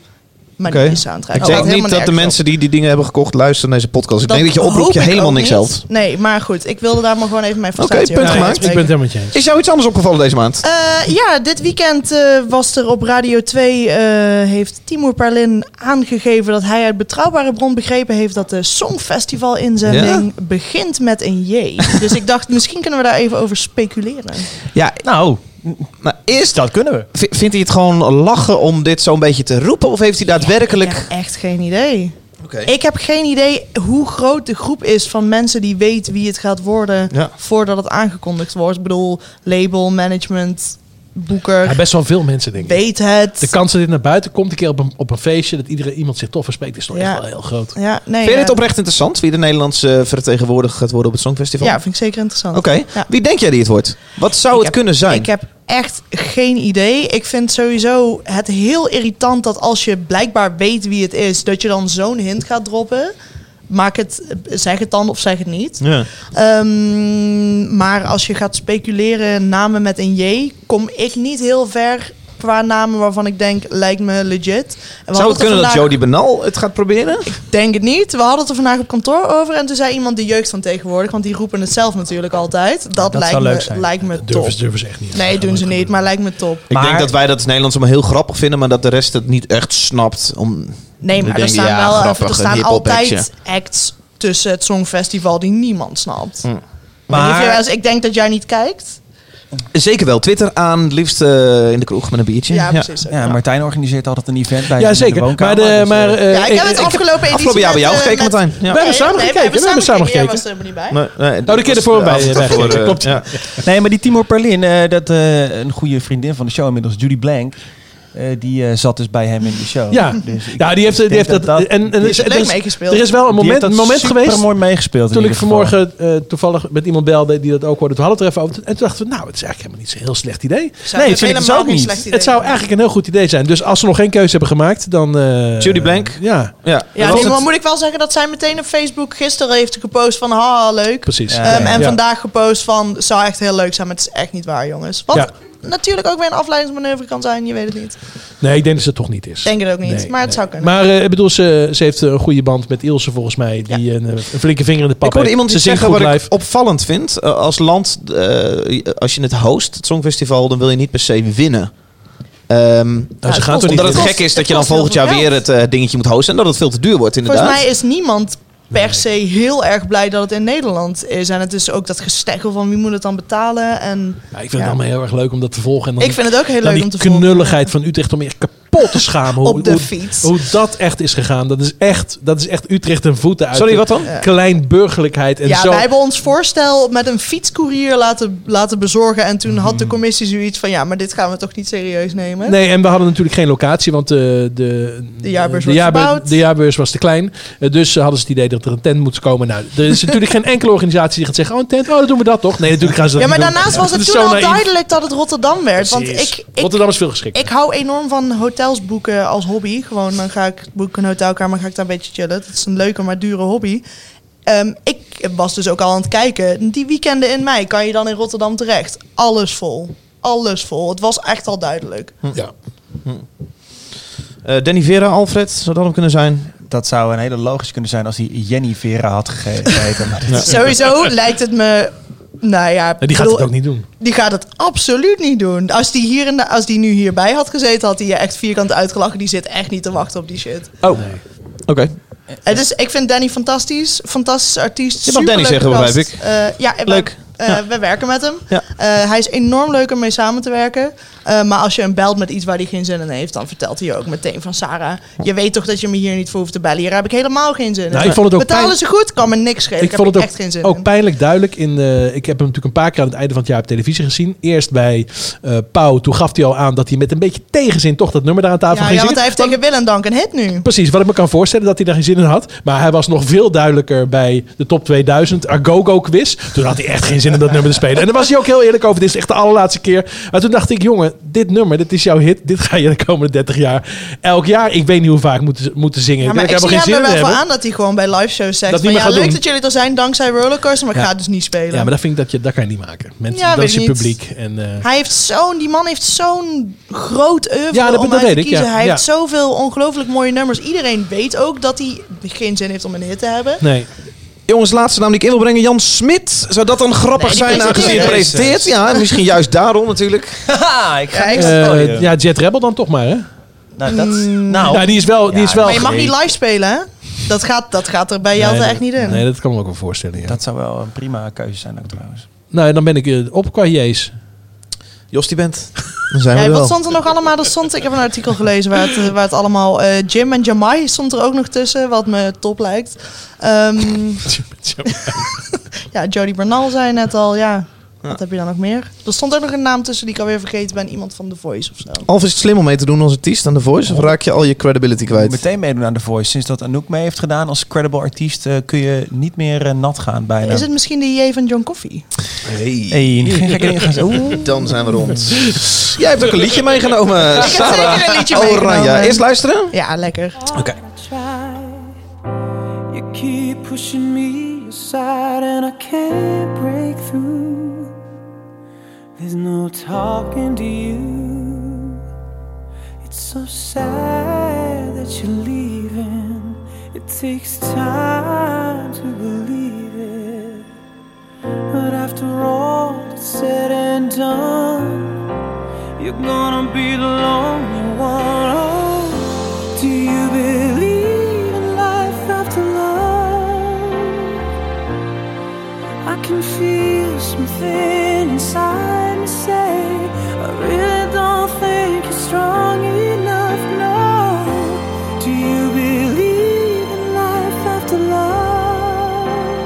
A: maar
B: Oké.
A: niet de soundtrack.
B: Ik
A: Slaat
B: denk niet
A: helemaal
B: dat de
A: nergens op.
B: mensen die die dingen hebben gekocht luisteren naar deze podcast. Ik denk dat je oproep
A: hoop
B: je
A: ik
B: helemaal
A: ook
B: niks
A: niet.
B: helpt.
A: Nee, maar goed. Ik wilde daar maar gewoon even mijn frustratie
B: punt
A: over
B: gemaakt.
C: Ik ben het
A: uitspreken.
C: helemaal met je
B: Is
C: eens.
B: jou iets anders opgevallen deze maand?
A: Eh, ja, dit weekend eh, was er op Radio 2... eh, heeft Timur Perlin aangegeven dat hij uit betrouwbare bron begrepen heeft... dat de Songfestival-inzending begint met een J. Dus ik dacht, misschien kunnen we daar even over speculeren.
B: Ja,
D: Nou,
B: maar eerst
D: dat kunnen we.
B: V- Vindt hij het gewoon lachen om dit zo'n beetje te roepen? Of heeft hij daadwerkelijk...
A: Ik heb echt geen idee.
B: Oké.
A: Ik eh, heb geen idee hoe groot de groep is van mensen die weten wie het gaat worden...
B: Ja.
A: voordat het aangekondigd wordt. Ik bedoel, label, management, boeker...
C: Ja, best wel veel mensen, denk ik.
A: weet het.
C: De kans dat dit naar buiten komt, een keer op een, op een feestje, dat iedereen, iemand zich tof verspreekt, is toch
A: Ja.
C: echt wel heel groot.
A: ja, nee,
B: Vind je
A: ja.
B: dit oprecht interessant? Wie de Nederlandse vertegenwoordiger gaat worden op het Songfestival?
A: Ja, vind ik zeker interessant.
B: Oké.
A: Ja.
B: Wie denk jij die het wordt? Wat zou
A: Ik
B: het
A: heb-
B: kunnen zijn?
A: Ik heb echt geen idee. Ik vind sowieso het heel irritant dat als je blijkbaar weet wie het is, dat je dan zo'n hint gaat droppen. Maak het, zeg het dan of zeg het niet.
B: Ja.
A: Ehm, maar als je gaat speculeren namen met een J, kom ik niet heel ver qua namen waarvan ik denk, lijkt me legit. En we hadden
B: Zou
A: er
B: het kunnen dat
A: vandaag-
B: Jody Benal het gaat proberen?
A: Denk het niet. We hadden het er vandaag op kantoor over. En toen zei iemand de jeugd van tegenwoordig. Want die roepen het zelf natuurlijk altijd. Dat,
D: zou
A: lijkt,
D: leuk
A: me,
D: zijn.
A: lijkt me top.
C: Durven ze, durven ze echt niet.
A: Nee, doen ze niet. Maar lijkt me top.
B: Ik denk
D: Maar-
B: dat wij dat als Nederlands allemaal heel grappig vinden, maar dat de rest het niet echt snapt. Om...
A: Nee, maar er
B: denken,
A: staan,
B: ja,
A: wel, eh,
B: grappig,
A: er
B: een
A: staan
B: hiphop
A: altijd
B: actje.
A: acts tussen het Songfestival die niemand snapt.
B: Hm.
A: Ik weet niet of jij wel
D: Maar
A: eens- ik denk dat jij niet kijkt.
B: Zeker wel. Twitter aan, liefst eh, in de kroeg met een biertje.
A: Ja, precies. Ja.
D: ja, Martijn organiseert altijd een event bij
C: Ja,
D: hem in
C: zeker.
D: de
C: maar
D: woonkamer,
C: de,
D: dus,
C: maar,
D: eh,
C: eh,
A: Ja, ik heb het
C: eh,
A: afgelopen eh,
B: Afgelopen jaar bij jou gekeken, Martijn. Ja.
C: We hebben samen gekeken, we hebben
A: Jij
C: samen gekeken.
A: was er helemaal niet bij.
B: Nee, nee,
C: de keer ervoor bij-
B: altijd
C: bij-
B: voor, eh,
C: klopt.
B: ja.
D: Nee, maar die Timor Perlin, eh, dat, eh, een goede vriendin van de show inmiddels, Judy Blank. eh, die eh, zat dus bij hem in de show.
C: Ja,
D: Dus ik-
C: ja die heeft, die
D: denk
C: heeft dat.
D: dat-
C: en, en,
D: die
A: heeft
C: er,
A: leuk
C: is,
A: meegespeeld.
C: er is wel een moment, een moment geweest.
D: mooi meegespeeld. in
C: Toen ik
D: ieder geval.
C: vanmorgen eh, toevallig met iemand belde die dat ook hoorde, toen hadden we het er even over. En toen dachten we, nou, het is eigenlijk helemaal niet zo'n heel slecht idee.
A: Zou
D: Nee,
A: het
D: vind ik dus
A: helemaal
D: ook
A: geen
D: niet.
A: slecht idee
C: Het zou
A: zijn.
C: eigenlijk een heel goed idee zijn. Dus als ze nog geen keuze hebben gemaakt, dan... eh,
B: Judy Blank?
C: Ja,
A: Ja,
B: Ja, dat was
A: nee,
B: het.
A: maar moet ik wel zeggen dat zij meteen op Facebook gisteren heeft gepost van haha, leuk.
C: precies.
D: Ja.
A: Ehm, en
C: Ja.
A: vandaag gepost van, zou echt heel leuk zijn, maar het is echt niet waar, jongens. Wat
C: Ja.
A: natuurlijk ook weer een afleidingsmanoeuvre kan zijn, je weet het niet.
C: Nee, ik denk dat ze het toch niet is.
A: Denk het ook niet,
C: Nee,
A: maar het
C: nee.
A: zou kunnen.
C: Maar eh, ik bedoel, ze, ze heeft een goede band met Ilse volgens mij. Die een, eh, een flinke vinger in de pap
B: Ik hoorde
C: heeft.
B: iemand
C: Ze
B: iets
C: zingt
B: zeggen wat
C: goed
B: ik
C: live.
B: opvallend vind. Eh, als land, eh, als je het host, het Songfestival, dan wil je niet per se winnen. Ehm,
C: Nou, ze
A: het
C: gaan
A: kost-
C: toch niet
B: omdat het
A: kost-
B: gek is dat
A: het
B: je dan
A: kost heel
B: volgend jaar
A: veel
B: weer
A: geld.
B: het eh, dingetje moet hosten en dat het veel te duur wordt inderdaad.
A: Volgens mij is niemand per se heel erg blij dat het in Nederland is. En het is ook dat gesteggel van wie moet het dan betalen. En
C: Ja, ik vind het allemaal heel erg leuk om dat te volgen. En dan,
A: ik vind het ook heel
C: dan
A: leuk
C: die
A: om te volgen.
C: knulligheid van Utrecht om je echt kapot te schamen. Hoe,
A: Op de
C: hoe-
A: fiets.
C: Hoe, dat echt is gegaan. Dat is echt, dat is echt Utrecht en voeten uit.
B: Sorry,
C: de
B: wat dan?
C: Kleinburgerlijkheid en
A: ja,
C: zo.
A: wij hebben ons voorstel met een fietscourier laten, laten bezorgen. En toen had de commissie zoiets van, ja, maar dit gaan we toch niet serieus nemen?
C: Mhm. Nee, en we hadden natuurlijk geen locatie, want eh, de,
A: De jaarbeurs
C: de,
A: wordt
C: jaarbe-
A: verbouwd.
C: de jaarbeurs was te klein. Eh, dus ze hadden ze het idee dat er een tent moest komen. Nou, er is natuurlijk geen enkele organisatie die gaat zeggen, oh een tent, oh dan doen we dat toch? Nee, natuurlijk gaan ze dat
A: Ja, maar
C: niet doen.
A: daarnaast was
C: Dat
A: het
C: is
A: toen
C: zo
A: al
C: naïef.
A: duidelijk dat het Rotterdam werd. Want
C: Precies.
A: ik, ik,
C: Rotterdam is veel geschikt.
A: ik hou enorm van hotels boeken als hobby. Gewoon, dan ga ik boeken een hotelkamer, ga ik daar een beetje chillen. Dat is een leuke, maar dure hobby. Ehm, ik was dus ook al aan het kijken. Die weekenden in mei kan je dan in Rotterdam terecht. Alles vol. Alles vol. Het was echt al duidelijk.
C: ja.
B: Eh, Danny Vera, Alfred, zou dat hem kunnen zijn?
D: Dat zou een hele logisch kunnen zijn als hij Jenny Vera had gegeten. Maar dit is-
A: Sowieso lijkt het me... Nou ja,
C: Nee, die gaat
A: bedoel,
C: het ook niet doen.
A: Die gaat het absoluut niet doen. Als die, hier in de, als die nu hierbij had gezeten, had hij je echt vierkant uitgelachen. Die zit echt niet te wachten op die shit.
B: Oh, oké.
A: Het is, ik vind Danny fantastisch. Fantastische artiest.
B: Je mag Danny
A: superleuke
B: zeggen,
A: gast. Eh, ja,
B: Leuk.
A: leuk. We werken met hem.
B: Ja.
A: Eh, hij is enorm leuk om mee samen te werken. Eh, maar als je hem belt met iets waar hij geen zin in heeft, dan vertelt hij je ook meteen van Sarah. Je weet toch dat je me hier niet voor hoeft te bellen. Hier heb ik helemaal geen zin in.
C: Nou, ik vond het ook
A: Betalen
C: pijn-
A: ze goed, kan me niks schelen. Ik, heb
C: vond
A: er
C: het
A: echt geen zin
C: ook, ook
A: in.
C: pijnlijk duidelijk. In, eh, ik heb hem natuurlijk een paar keer aan het einde van het jaar op televisie gezien. Eerst bij eh Pauw. Toen gaf hij al aan dat hij met een beetje tegenzin toch dat nummer daar aan tafel
A: Ja,
C: ging
A: ja, want
C: zingen.
A: hij heeft tegen Will en Dank een hit nu.
C: Precies, wat ik me kan voorstellen dat hij daar geen zin in had. Maar hij was nog veel duidelijker bij de top 2000 Agogo quiz. Toen had hij echt geen zin in dat nummer te spelen. En daar was hij ook heel eerlijk over. Dit is echt de allerlaatste keer. Maar toen dacht ik, jongen, dit nummer, dit is jouw hit. Dit ga je de komende 30 jaar, elk jaar, ik weet niet hoe vaak moeten, moeten zingen.
A: Ja,
C: ik
A: maar
C: denk
A: ik
C: dat ik
A: zie hem
C: helemaal
A: er
C: geen
A: wel
C: zin in
A: voor aan
C: heb.
A: dat hij gewoon bij live shows zegt
C: Dat
A: van
C: hij maar
A: ja,
C: gaat
A: leuk
C: doen.
A: dat jullie er zijn dankzij Rollercoaster, maar ik
C: Ja.
A: ga dus niet spelen.
C: Ja, maar dat vind ik dat je, dat kan je niet maken. Mensen,
A: Ja,
C: dat
A: weet
C: is je
A: ik niet.
C: publiek. En, eh,
A: Hij heeft zo'n, die man heeft zo'n groot oeuvre
C: Ja, dat-
A: om
C: dat
A: uit
C: weet
A: te
C: ik, ja.
A: kiezen. Hij
C: Ja.
A: heeft zoveel ongelooflijk mooie nummers. Iedereen weet ook dat hij geen zin heeft om een hit te hebben.
C: nee.
B: Jongens, laatste naam die ik in wil brengen. Jan Smit. Zou dat dan grappig
A: Nee, die
B: zijn aangezien hij
D: presenteert.
B: presenteert? Ja, misschien juist daarom natuurlijk.
D: Haha, ik ga
A: Ja, ik-
D: niet op het
C: Eh,
D: podium.
C: ja, Jet Rebel dan toch maar, hè?
D: Nou, dat, nou,
C: Ja, die is wel... Die
D: Ja,
C: is wel
A: Maar je mag
D: Geen.
A: niet live spelen, hè? Dat gaat, dat gaat er bij Jelte
C: Nee,
A: echt niet in.
C: Nee, dat kan me ook wel voorstellen, ja.
D: dat zou wel een prima keuze zijn ook trouwens.
C: Nou, en dan ben ik eh, op qua J's.
B: Jos, die bent. Dan zijn we
A: Ja,
B: er wel.
A: wat stond er nog allemaal? Er stond, ik heb een artikel gelezen waar het, waar het allemaal... eh, Jim en Jamai stond er ook nog tussen, wat me top lijkt. Ehm, ja, Jody Bernal zei net al, ja. Wat heb je dan nog meer? Er stond ook nog een naam tussen die ik alweer vergeten ben. Iemand van The Voice of zo.
B: Of is het slim om mee te doen als artiest aan The Voice? Of raak je al je credibility
D: Moet
B: kwijt?
D: Meteen meedoen aan The Voice. Sinds dat Anouk mee heeft gedaan als credible artiest eh, kun je niet meer eh, nat gaan bijna.
A: Is het misschien de J van John Coffee?
B: Hey,
D: Hey, geen gekke dingen gaan ze- Oeh.
B: dan zijn we rond. Jij hebt ook een liedje meegenomen, Eh, Sarah.
A: Zeker een liedje
B: Oranje.
A: meegenomen.
B: Eerst luisteren.
A: Ja, lekker.
E: You keep pushing me aside, and I can't break through. There's no talking to you. It's so sad that you're leaving. It takes time to believe it. But after all that's said and done, you're gonna be the lonely one. Oh. Do you believe in life after love? I can feel something inside me say I really don't think you're strong enough. No. Do you believe in life after love?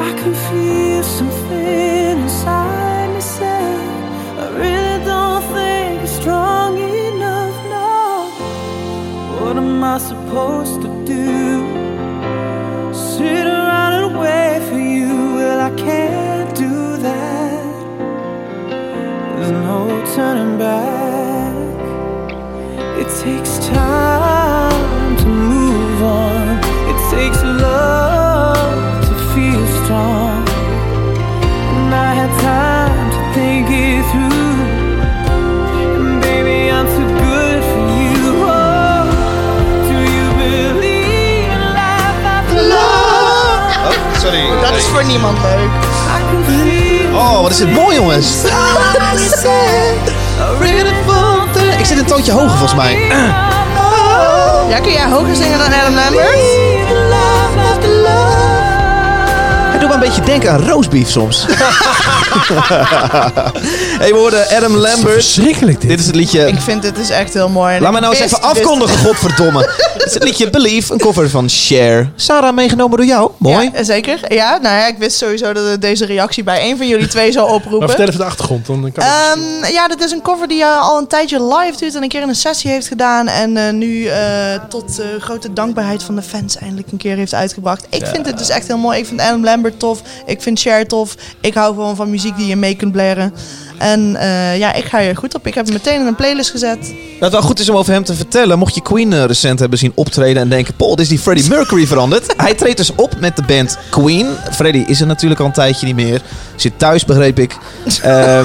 E: I can feel something inside me say I really don't think you're strong enough. No. What am I supposed to do? Sit around and wait for you. Well, I can't do that. There's no turning back. It takes time to move on. It takes love to feel strong. And I had time to think it through. And baby, I'm too good for you. Oh, do you believe in life after love?
B: Sorry.
A: Dat is voor niemand leuk.
E: I can feel
B: Oh, wat is dit mooi, jongens. Ik zit een toontje hoger, volgens mij.
A: Ja, kun jij hoger zingen dan Adam Lambert?
B: Hij doet me een beetje denken aan roastbeef soms. hey, we hoorden Adam Lambert.
C: Schrikkelijk dit.
B: Dit is het liedje...
A: Ik vind dit is echt heel mooi. En
B: Laat
A: ik
B: mij nou eens
A: wist-
B: even
D: dus-
A: wist-
B: afkondigen, godverdomme. Dit is het liedje Believe, een cover van Cher. Sarah, meegenomen door jou. Mooi.
A: Ja, zeker. Ja, nou ja, ik wist sowieso dat het deze reactie bij een van jullie twee zou
C: Maar
A: oproepen.
C: vertel even de achtergrond. Dan kan ik-
A: Ehm, ja, dit is een cover die eh, al een tijdje live doet en een keer in een sessie heeft gedaan. En eh, nu eh, tot eh, grote dankbaarheid van de fans eindelijk een keer heeft uitgebracht. Ik vind het dus echt heel mooi. Ik vind Adam Lambert tof. Ik vind Cher tof. Ik hou gewoon van muziek die je mee kunt blaren. En eh, ja, ik ga hier goed op. Ik heb hem meteen in een playlist gezet.
B: Dat het wel goed is om over hem te vertellen. Mocht je Queen eh, recent hebben zien optreden en denken... Paul, dit is die Freddie Mercury veranderd. Hij treedt dus op met de band Queen. Freddie is er natuurlijk al een tijdje niet meer. Zit thuis, begreep ik. Ehm,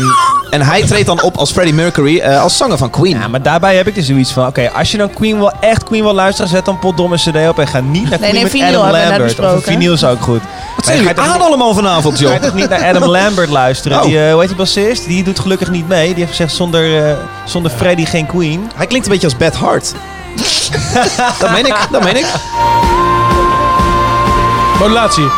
B: en hij treedt dan op als Freddie Mercury eh, als zanger van Queen.
D: Ja, maar daarbij heb ik dus zoiets van, oké, als je dan Queen wel echt Queen wil luisteren, zet dan potdomme cd op en ga niet naar
A: Nee,
D: Queen
A: nee,
D: met
A: vinyl
D: Adam
A: hebben we net
D: Lambert. Of
A: besproken, hè?
D: vinyl is ook goed. Maar
B: Wat zijn
D: je
B: jullie
D: gaat toch
B: aan
D: niet-
B: allemaal vanavond,
D: Ga
B: joh?
D: je toch niet naar Adam Lambert luisteren?
B: Oh.
D: Die, eh, hoe heet die bassist? Die doet gelukkig niet mee. Die heeft gezegd, zonder, eh, zonder Freddy geen Queen.
B: Hij klinkt een beetje als Bad Hart. Yes! dat meen ik, dat meen ik.
C: Oh, Modulatie.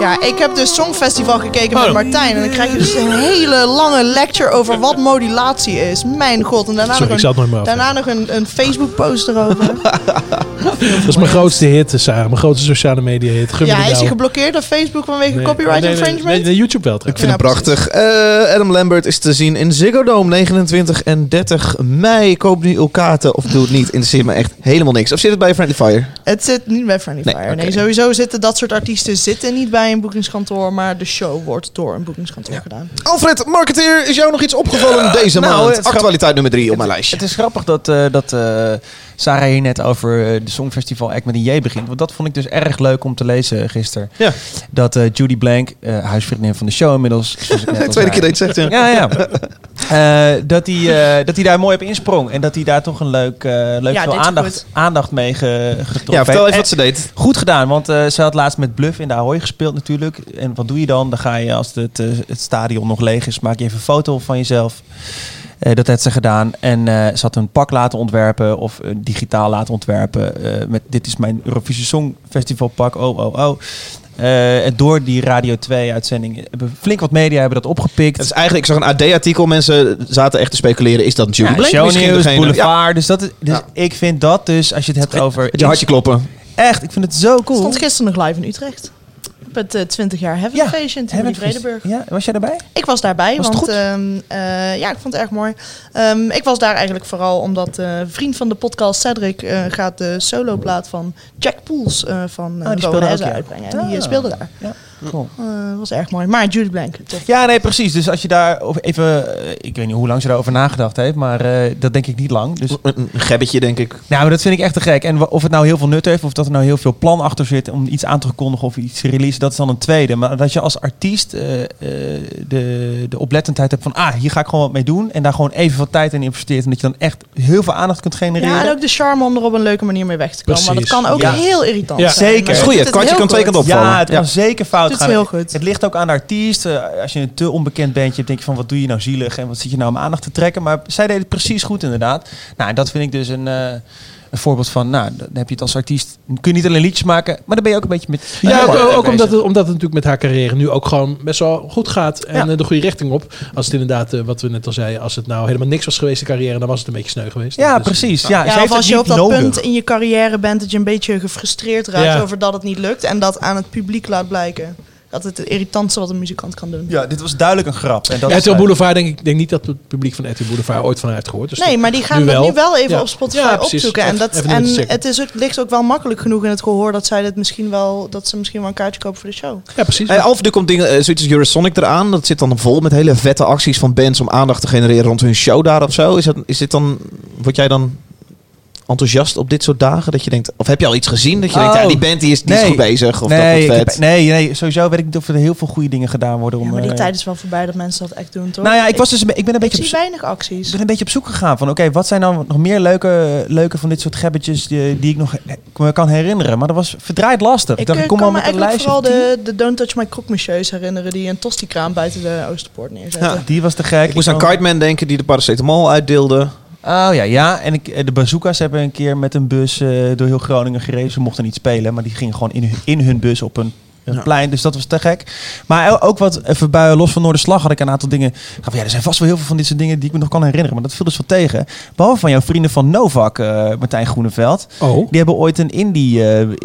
A: Ja, ik heb dus Songfestival gekeken
C: Oh.
A: met Martijn. En dan krijg je dus een hele lange lecture over wat modulatie is. Mijn god. En daarna
C: Sorry, ik
A: nog
C: zal het nooit
A: een,
C: meer afleggen.
A: daarna nog een, een Facebook post erover.
C: Dat is mijn grootste hit, eh, Sarah. Mijn grootste sociale media hit. Gun me
A: ja,
C: die
A: is hij
C: nou.
A: geblokkeerd op Facebook vanwege
C: Nee.
A: copyright
C: Nee, nee,
A: infringement?
C: Nee, nee, YouTube wel trouwens.
B: Ik vind
A: Ja,
B: hem prachtig. Eh, Adam Lambert is te zien in Ziggo Dome 29 en 30 mei. Koop nu uw kaarten of doe het niet. Interesseert me echt helemaal niks. Of zit het bij Friendly Fire?
A: Het zit niet bij Friendly
B: Nee,
A: Fire. Nee,
B: oké.
A: sowieso zitten dat soort artiesten zitten niet bij een boekingskantoor. Maar de show wordt door een boekingskantoor gedaan.
B: Alfred, marketeer, is jou nog iets opgevallen deze
D: nou, het
B: maand?
D: is grap-
B: Actualiteit nummer 3 op mijn lijstje.
D: Het is grappig dat, eh, dat eh, Sarah hier net over eh, de Songfestival Act met een J begint. Want dat vond ik dus erg leuk om te lezen gisteren.
B: Ja.
D: Dat eh, Judy Blank, eh, huisvriendin van de show inmiddels. zoals ik net al
B: Tweede
D: zei.
B: keer dat je het zegt, ja.
D: Ja, ja. Eh, dat, hij, eh, dat hij daar mooi op insprong. En dat hij daar toch een leuk, eh, leuk
A: Ja,
D: veel
A: dit is
D: aandacht,
A: goed.
D: aandacht mee ge, getrokken
B: Ja, vertel
D: heeft.
B: even wat
D: En
B: ze deed.
D: Goed gedaan, want eh, ze had laatst met Bluff in de Ahoy gespeeld natuurlijk. En wat doe je dan? Dan ga je, als het, eh, het stadion nog leeg is, maak je even een foto van jezelf. Eh, dat heeft ze gedaan. En eh, ze had een pak laten ontwerpen of eh, digitaal laten ontwerpen. eh, met dit is mijn Eurovisie Songfestival pak. Oh, oh, oh. Eh, en door die Radio 2 uitzending hebben flink wat media hebben dat opgepikt.
B: Het is eigenlijk, ik zag een AD-artikel, mensen zaten echt te speculeren, is dat Judy
D: Ja,
B: Blank misschien
D: shownieuws,
B: degene?
D: boulevard. Dus, dat is, dus
B: Ja.
D: ik vind dat dus, als je het hebt over...
B: Met je hartje kloppen.
D: Echt, ik vind het zo cool.
A: Stond gisteren nog live in Utrecht. Op het eh, 20 jaar Heaven
D: Ja,
A: Feestje in
D: Hebben
A: Tivoli
D: we het gezien?
A: Vredenburg.
D: Ja, was jij daarbij?
A: Ik was daarbij,
D: Was het
A: want
D: goed?
A: ehm, eh, ja, ik vond het erg mooi. Ehm, ik was daar eigenlijk vooral omdat eh, vriend van de podcast Cedric eh, gaat de soloplaat van Jack Poels eh, van eh
D: Oh, die speelde
A: Bowen Hezza
D: ook, ja.
A: uitbrengen. En die eh,
D: Ah.
A: speelde daar.
D: Cool.
A: Eh, was erg mooi. Maar Judy Blank, tof.
D: Ja, nee, precies. Dus als je daar over even... eh, Ik weet niet hoe lang ze daarover nagedacht heeft, maar eh, dat denk ik niet lang. Dus, nou,
B: Een een gebbetje, denk ik.
D: maar dat vind ik echt te gek. En wa- of het nou heel veel nut heeft, of dat er nou heel veel plan achter zit om iets aan te kondigen of iets te releasen, dat is dan een tweede. Maar dat je als artiest eh, eh, de, de oplettendheid hebt van, ah, hier ga ik gewoon wat mee doen. En daar gewoon even wat tijd in investeert. En dat je dan echt heel veel aandacht kunt genereren.
A: Ja, en ook de charme om er op een leuke manier mee weg te komen. Maar dat
C: Precies.
A: kan ook
D: Ja.
A: heel irritant
C: Ja.
A: zijn.
D: Zeker.
A: Maar
D: Dat is
A: ze
B: goed,
A: doet
B: het kantje
A: heel
B: kan twee
A: goed.
B: kanten op. opvallen.
D: Ja, het kan
B: Ja.
D: zeker fout
A: Doet
D: gaan.
A: ze heel goed.
D: Het ligt ook aan de artiest. Eh, Als je een te onbekend bent, je denk je van wat doe je nou zielig en wat zit je nou om aandacht te trekken. Maar zij deed het precies goed inderdaad. Nou, en dat vind ik dus een, eh, een voorbeeld van, nou, dan heb je het als artiest. Dan kun je niet alleen liedjes maken, maar dan ben je ook een beetje met...
C: Ja, ook, ook omdat,
D: bezig.
C: het, omdat het natuurlijk met haar carrière nu ook gewoon best wel goed gaat. En
D: Ja.
C: eh, de goede richting op. Als het inderdaad, eh, wat we net al zeiden, als het nou helemaal niks was geweest, de carrière, dan was het een beetje sneu geweest.
D: Ja,
C: Dus-
D: precies. Ja, ze
A: Ja,
D: heeft
A: of
D: het
A: als je
D: niet
A: op dat
D: nodig.
A: punt in je carrière bent dat je een beetje gefrustreerd raakt
C: Ja.
A: over dat het niet lukt. En dat aan het publiek laat blijken. Dat het het irritantste wat een muzikant kan doen.
D: Ja, dit was duidelijk een grap. En dat is
C: RTL
D: leuk.
C: Boulevard, denk ik denk niet dat het publiek van RTL Boulevard ooit van haar heeft gehoord. Dus
A: Nee,
C: dat-
A: maar die gaan dat nu wel even
C: Ja.
A: op Spotify
C: Ja, precies.
A: opzoeken. En,
C: Even-
A: dat,
C: even in
A: en
C: het checken.
A: het is ook, ligt ook wel makkelijk genoeg in het gehoor dat, zij dit misschien wel, dat ze misschien wel een kaartje kopen voor de show.
C: Ja, precies.
B: Hey, Alf, nu komt dingen, eh, zoiets als Eurosonic eraan. Dat zit dan vol met hele vette acties van bands om aandacht te genereren rond hun show daar of zo. Is, dat, is dit dan, word jij dan enthousiast op dit soort dagen? Dat je denkt, of heb je al iets gezien? Dat je denkt, ja,
D: Oh.
B: die band die is, die is
D: Nee.
B: goed bezig. Of
D: nee,
B: dat wordt
D: ik
B: vet.
D: heb- nee, nee, sowieso weet ik niet of er heel veel goede dingen gedaan worden. Om,
A: Ja, maar die
D: eh,
A: tijd is wel voorbij dat mensen dat echt doen, toch?
D: Nou ja, ik, was dus, een be- ik ben een beetje
A: ik
D: op
A: zie
D: zoek-
A: weinig acties.
D: Ik ben een beetje op zoek gegaan van, oké, wat zijn nou nog meer leuke, leuke van dit soort gebbetjes die, die ik nog me kan herinneren? Maar dat was verdraaid lastig.
A: Ik,
D: dacht,
A: eh,
D: ik kom
A: kan
D: wel
A: me
D: met een
A: eigenlijk
D: lijstje.
A: vooral
D: van tien.
A: de, de Don't Touch My Croque Monsieurs herinneren die een tostikraam buiten de Oosterpoort neerzetten.
B: Ja.
D: Die was te gek.
B: Ik moest aan Cartman denken die de paracetamol uitdeelde.
D: Oh ja, ja. En ik, eh, de bazooka's hebben een keer met een bus eh, door heel Groningen gereden. Ze mochten niet spelen, maar die gingen gewoon in hun, in hun bus op een, een plein. Dus dat was te gek. Maar o- ook wat, even bij Los van Noorderslag had ik een aantal dingen. Ik dacht van, ja, er zijn vast wel heel veel van dit soort dingen die ik me nog kan herinneren. Maar dat viel dus wel tegen. Behalve van jouw vrienden van Novak, eh, Martijn Groeneveld.
C: Oh.
D: Die hebben ooit een indie, eh, eh,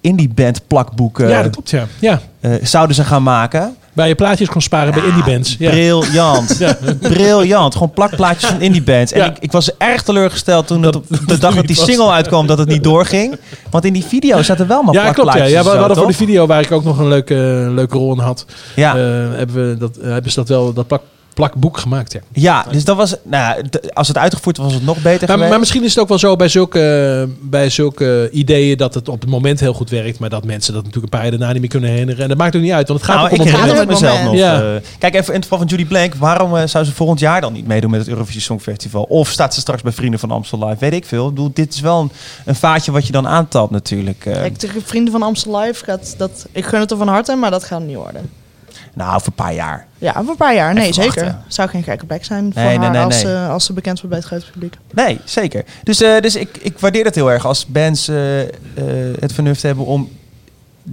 D: indie band plakboek eh,
C: Ja, dat klopt, ja. ja.
D: eh, zouden ze gaan maken.
C: Waar je plaatjes kon sparen bij indie bands. Ja.
D: Briljant. Briljant. Gewoon plakplaatjes van indie bands. En
C: Ja.
D: ik, ik was erg teleurgesteld toen dat, op de dag dat die
C: was.
D: single uitkwam dat het niet doorging. Want in die video zaten wel maar
C: Ja, klopt. Ja.
D: plakplaatjes.
C: Ja, we
D: en zo,
C: hadden voor
D: toch?
C: de video waar ik ook nog een leuke, leuke rol in had.
D: Ja.
C: eh, hebben, we dat, eh, hebben ze dat wel, dat plak, plakboek gemaakt, ja.
D: Ja, dus dat was, nou, ja, d- als het uitgevoerd was, was het nog beter
C: Maar,
D: geweest.
C: maar misschien is het ook wel zo bij zulke, bij zulke eh, ideeën dat het op het moment heel goed werkt, maar dat mensen dat natuurlijk een paar jaar daarna niet meer kunnen herinneren. En dat maakt ook niet uit, want het gaat
D: nou,
C: ook om
D: ik
C: het
D: herinner
C: moment.
D: het
A: moment.
D: mezelf nog.
C: Ja.
D: eh, kijk, even in het geval van Judy Blank. Waarom eh, zou ze volgend jaar dan niet meedoen met het Eurovisie Songfestival? Of staat ze straks bij Vrienden van Amstel Live? Weet ik veel. Ik bedoel, dit is wel een, een vaatje wat je dan aantapt natuurlijk. eh.
A: Kijk, de vrienden van Amstel Live gaat dat. Ik gun het er van harte, maar dat gaat niet worden.
D: Nou, voor een paar jaar.
A: Ja, voor een paar jaar. Nee,
D: Even
A: zeker.
D: wachten.
A: Zou geen gekke bek zijn voor
D: Nee, nee,
A: haar
D: nee,
A: als,
D: nee.
A: ze- als ze bekend wordt bij het grote publiek.
D: Nee, zeker. Dus, eh, dus ik, ik waardeer dat heel erg als bands eh, eh, het vernuft hebben om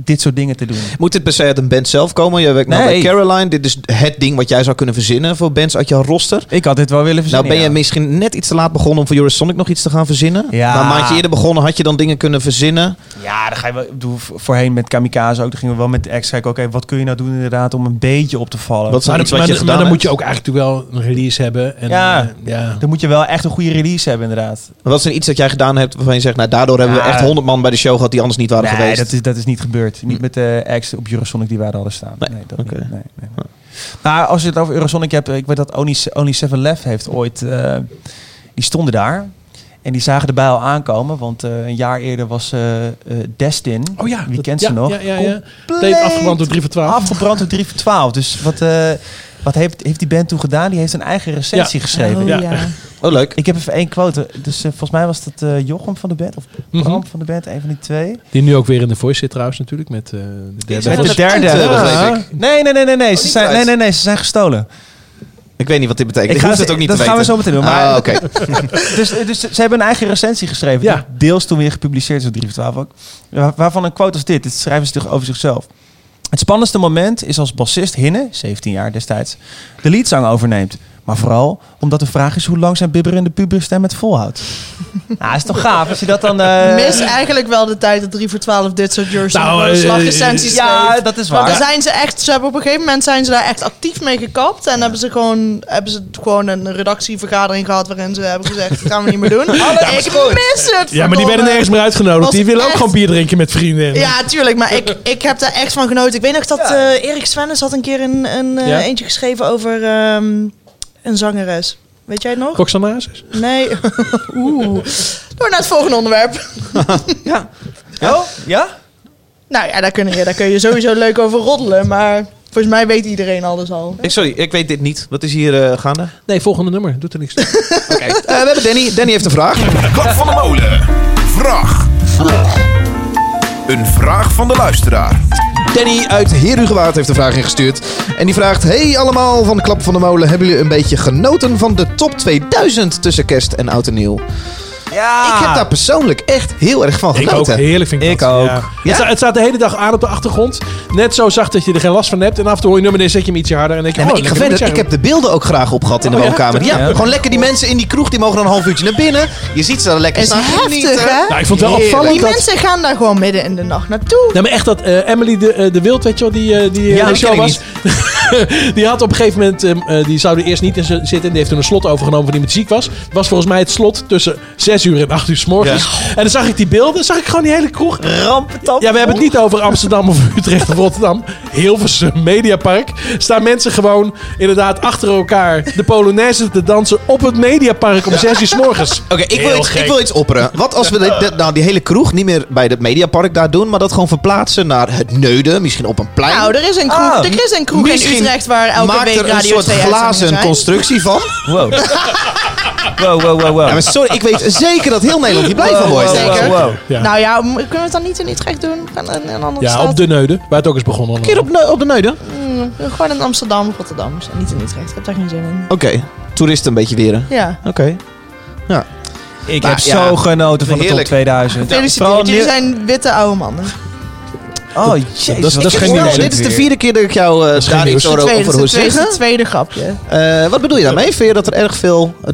D: dit soort dingen te doen.
B: Moet dit per se uit een band zelf komen? Jij werkt nou
D: Nee.
B: bij Caroline. Dit is het ding wat jij zou kunnen verzinnen voor bands uit jouw roster.
D: Ik had dit wel willen verzinnen.
B: Nou ben je
D: ja.
B: misschien net iets te laat begonnen om voor Eurosonic nog iets te gaan verzinnen.
D: Ja.
B: Maar een maandje eerder begonnen had je dan dingen kunnen verzinnen.
D: Ja, dan ga je wel. ik bedoel, vo- voorheen met kamikaze ook. Dan gingen we wel met de ex kijken. Oké, wat kun je nou doen inderdaad om een beetje op te vallen?
B: Wat is nou
C: Maar,
B: iets
C: dan-
B: wat je
C: maar, maar
B: gedaan
C: dan
B: hebt?
C: moet je ook eigenlijk wel een release hebben. En,
D: Ja.
C: eh, ja.
D: Dan moet je wel echt een goede release hebben inderdaad.
B: Wat is er iets dat jij gedaan hebt waarvan je zegt... Nou, daardoor hebben we
D: Ja.
B: echt 100 man bij de show gehad die anders niet waren
D: Nee,
B: geweest. Hm.
D: dat is, dat is niet gebeurd. Niet met de ex op Eurosonic die wij hadden staan.
B: Nee,
D: Nee, dat
B: oké. Ah.
D: niet. Nee, nee, nee. Maar als je het over Eurosonic hebt, ik weet dat Only, Only Seven Left heeft ooit. eh, die stonden daar. En die zagen de bijl aankomen, want eh, een jaar eerder was eh, eh, Destin.
C: Oh ja.
D: Wie
C: dat-
D: kent
C: ja,
D: ze nog?
C: Ja, ja, ja.
D: Compleet
C: Leed afgebrand door 3 voor 12.
D: Afgebrand door 3 voor 12. Dus wat, eh, wat heeft, heeft die band toen gedaan? Die heeft een eigen recensie geschreven.
A: Oh,
C: Ja.
B: Oh, leuk.
D: Ik heb even één quote. Dus eh, volgens mij was dat eh, Jochem van de band, of Bram
C: Mhm.
D: van de band, een van die twee.
C: Die nu ook weer in de voice zit trouwens natuurlijk. Met eh, de derde.
B: Met
D: Met
B: de
D: de derde.
B: tent, eh,
D: Ja.
B: begreep ik.
D: Nee, nee, nee, nee, nee. Ze
B: niet
D: zijn,
B: uit.
D: nee, nee, nee. Ze zijn gestolen.
B: Ik weet niet wat dit betekent. Ik,
D: Ik ga
B: hoef
D: het-
B: het ook niet
D: dat
B: te
D: gaan
B: weten.
D: we zo meteen doen, maar-
B: Ah, oké.
D: Dus, dus ze hebben een eigen recensie geschreven.
C: Ja.
D: die Deels toen weer gepubliceerd is op 3 voor 12 ook. Waar- Waarvan een quote als dit. Dit schrijven ze toch over zichzelf. Het spannendste moment is als bassist Hinne, 17 jaar destijds, de liedzang overneemt. Maar vooral omdat de vraag is hoe lang zijn bibberende puberstem het volhoudt. nou, is toch gaaf als je dat dan... eh,
A: Mis eigenlijk wel de tijd dat 3 voor 12 dit soort Jersey
C: Nou,
A: nou,
C: eh,
A: slagrecensies
D: Ja, dat is
A: Maar
D: waar.
A: daar zijn ze echt, ze hebben op een gegeven moment zijn ze daar echt actief mee gekapt. En hebben ze gewoon, hebben ze gewoon een redactievergadering gehad waarin ze hebben gezegd, dat gaan we niet meer doen. ik mis het.
C: Ja, maar die werden
A: verdomme.
C: nergens meer uitgenodigd.
A: Was
C: Die willen ook
A: echt-
C: gewoon bier drinken met vrienden. eh,
A: Ja, tuurlijk. Maar ik, ik heb daar echt van genoten. Ik weet nog dat eh, Erik Svennes had een keer een, een eh,
C: Ja?
A: eentje geschreven over ehm, een zangeres. Weet jij het nog?
C: Roxanne Hazes?
A: Nee. Oeh. Door naar het volgende onderwerp.
D: Oh, ja?
A: Nou ja, daar kun, je, daar kun je sowieso leuk over roddelen. Maar volgens mij weet iedereen alles al.
B: Ik- Sorry, ik weet dit niet. Wat is hier eh, gaande?
C: Nee, volgende nummer. Doet er niks toe.
B: Eh, we hebben Danny. Danny heeft een vraag.
I: Klap van de molen. Vraag. Een vraag van de luisteraar.
B: Danny uit Herugewaard heeft een vraag ingestuurd. En die vraagt... Hey allemaal van de Klap van de Molen. Hebben jullie een beetje genoten van de top 2000 tussen kerst en oud en nieuw?
D: Ja.
B: Ik heb daar persoonlijk echt heel erg van
C: Ik ook.
B: genoten.
C: Heerlijk vind ik,
D: Ah. Ik
C: dat.
D: ook.
C: Ja. Het, sta- het staat de hele dag aan op de achtergrond. Net zo zacht dat je er geen last van hebt. En af en toe hoor je nummer en zet je hem ietsje harder. En dan
B: Nee,
C: denk je,
B: maar
C: oh,
B: ik,
C: lekker
B: vind het-
C: nummertje.
B: ik heb de beelden ook graag op gehad in de
C: Oh, ja?
B: woonkamer. Ja,
D: Ja.
B: gewoon lekker die mensen in die kroeg, die mogen dan een half uurtje naar binnen. Je ziet ze dan lekker
A: Is
B: staan
A: heftig,
B: genieten.
A: hè?
C: Nou, ik vond het wel
B: Heerlijk.
C: opvallend
A: Die
C: dat...
A: mensen gaan daar gewoon midden in de nacht naartoe.
C: Nou, maar echt dat eh, Emily de, eh, de Wild, weet je wel, die, eh, die eh,
B: Ja,
C: in de
B: die
C: show
B: ken ik
C: was. die had op een gegeven moment, ehm, eh, die zou er eerst niet in z- zitten. Die heeft toen een slot overgenomen van iemand die ziek was. Was volgens mij het slot tussen 6 uur en 8 uur s morgens. En dan zag ik die beelden, zag ik gewoon die hele kroeg.
D: Rampentap.
C: Ja, we hebben het niet over Amsterdam of Utrecht of Rotterdam. Hilversum Mediapark. Staan mensen gewoon inderdaad achter elkaar de Polonaise te dansen op het Mediapark om 6 uur s morgens.
B: Oké, ik, wil
C: Heel
B: iets- ik
C: gek.
B: wil iets opperen. Wat als we dit- dit- nou, die hele kroeg niet meer bij het Mediapark daar doen, maar dat gewoon verplaatsen naar het Neuden, misschien op een plein.
A: Nou, er is een kroeg,
D: Ah,
A: er is een kroeg in
B: misschien
A: Utrecht waar elke
B: Maak
A: week
B: er een
A: Radio
B: soort
A: 2 uitzendingen
B: glazen
A: zijn.
B: constructie van.
D: Wow. wow, wow, wow, wow.
B: Ja, maar sorry, ik weet zeker dat heel Nederland hier blij van wordt.
A: wow, zeker.
D: wow.
C: Ja.
A: Nou ja, m- kunnen we het dan niet in Utrecht doen? Gaan in een andere
C: ja,
A: stad?
C: op de Neuden, waar het ook is begonnen.
B: Een keer op, Neu- op de Neuden?
A: Mm, Gewoon in Amsterdam, Rotterdam. Niet in Utrecht. Ik heb daar geen zin in.
B: Oké, toeristen een beetje weren.
A: Ja.
B: Oké.
D: Ik
B: Nou,
D: heb
B: ja.
D: zo genoten van de
B: Heerlijk.
D: top 2000. Vooral
A: Gefeliciteerd, jullie
D: nu-
A: zijn witte oude mannen.
D: Oh, jezus.
C: dat is
D: wat
C: geen
D: snel
C: nieuws.
B: dit is de
D: weer.
B: vierde keer dat ik jou eh,
C: is geen
B: daar
C: nieuws.
B: iets over
A: tweede,
B: over
A: dat
B: hoor
A: is het tweede, dat is
B: zeggen.
A: het tweede grapje.
B: Eh, wat bedoel je daarmee? Vind je dat er erg veel eh,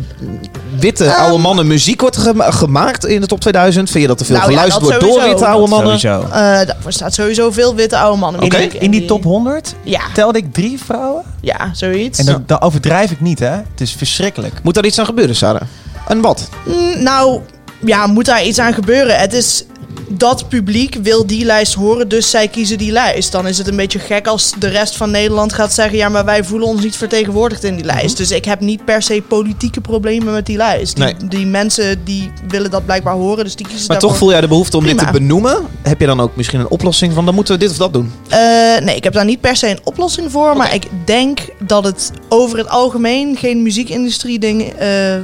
B: witte
A: Ehm.
B: oude mannen muziek wordt gema- gemaakt in de top 2000? Vind je dat er veel
A: Nou ja,
B: geluisterd
A: dat
B: wordt door
A: sowieso.
B: witte oude mannen?
D: Sowieso.
A: Eh daar staat sowieso veel witte oude mannen.
B: Oké.
D: In, die, Oh. in die top 100
A: Ja,
D: telde ik drie vrouwen.
A: ja zoiets.
D: En dat, dat overdrijf ik niet, hè. Het is verschrikkelijk.
B: Moet daar iets aan gebeuren, Sarah? En wat?
A: Mm, nou, ja, moet daar iets aan gebeuren. Het is dat publiek wil die lijst horen, dus zij kiezen die lijst. Dan is het een beetje gek als de rest van Nederland gaat zeggen... ja, maar wij voelen ons niet vertegenwoordigd in die
B: Mhm.
A: lijst. Dus ik heb niet per se politieke problemen met die lijst. Die,
B: Nee.
A: die mensen die willen dat blijkbaar horen, dus die kiezen
B: Maar toch
A: daarvoor.
B: voel jij de behoefte om dit
A: Prima.
B: te benoemen? Heb je dan ook misschien een oplossing van dan moeten we dit of dat doen?
A: Eh, nee, ik heb daar niet per se een oplossing voor. Maar ik denk dat het over het algemeen geen muziekindustrie ding... eh, eh,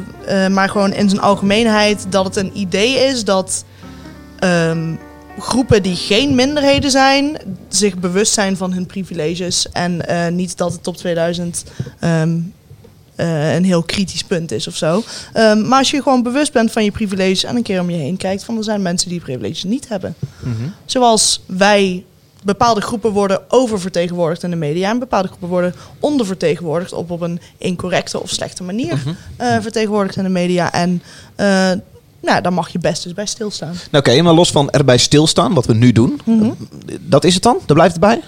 A: maar gewoon in zijn algemeenheid dat het een idee is dat... ehm, groepen die geen minderheden zijn, zich bewust zijn van hun privileges. En eh, niet dat de top 2000 ehm, eh, een heel kritisch punt is of zo. Ehm, maar als je gewoon bewust bent van je privileges en een keer om je heen kijkt, van er zijn mensen die privileges niet hebben. Zoals wij, bepaalde groepen worden oververtegenwoordigd in de media en bepaalde groepen worden ondervertegenwoordigd op, op een incorrecte of slechte manier eh, vertegenwoordigd in de media. En eh, nou, daar mag je best dus bij stilstaan.
B: Nou, Oké, maar los van erbij stilstaan, wat we nu doen,
A: Mhm.
B: eh, dat is het dan? Daar blijft het bij?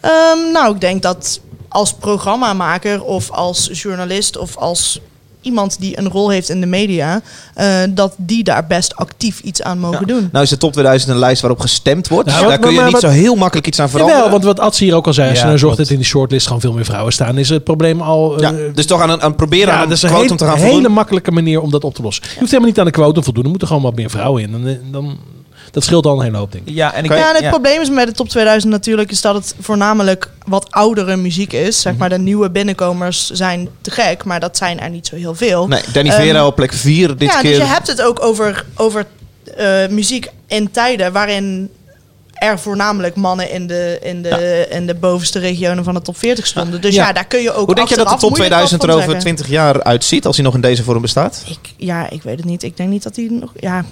A: Ehm, nou, ik denk dat als programmamaker of als journalist of als iemand die een rol heeft in de media, eh, dat die daar best actief iets aan mogen doen.
B: Nou is de top 2000 een lijst waarop gestemd wordt.
C: Nou,
B: daar
C: maar-
B: kun je
C: maar-
B: niet
C: maar-
B: zo heel makkelijk iets aan veranderen.
C: Jawel, want wat Adse hier ook al zei, als je
D: Ja,
C: nou zorgt
D: klopt.
C: dat in die shortlist gewoon veel meer vrouwen staan, is het probleem al... eh,
B: ja, dus toch aan, een- aan proberen
C: ja,
B: aan
C: dat
B: een
C: is een
B: quotum
C: heel-
B: te gaan voldoen.
C: hele makkelijke manier om dat op te lossen. Je hoeft helemaal niet aan de quotum voldoen, er moeten gewoon wat meer vrouwen in. Dan, dan, dat scheelt al een hele hoop, denk ik.
D: Ja, en ik
A: Ja, en het probleem is met de top 2000 natuurlijk is dat het voornamelijk wat oudere muziek is.
B: Mhm.
A: Zeg maar, de nieuwe binnenkomers zijn te gek, maar dat zijn er niet zo heel veel.
B: Nee, Danny
A: Ehm,
B: Vera op plek 4 dit
A: ja,
B: keer.
A: dus je hebt het ook over, over eh, muziek in tijden waarin er voornamelijk mannen in de, in de, in de bovenste regionen van de top 40 stonden. Dus
C: Ja.
A: ja, daar kun je ook
B: Hoe denk je dat de
A: achteraf
B: top
A: moeilijk
B: 2000 er
A: wat van
B: over
A: zeggen.
B: 20 jaar uitziet, als hij nog in deze vorm bestaat?
A: Ik, ja, ik weet het niet. Ik denk niet dat die nog... Ja.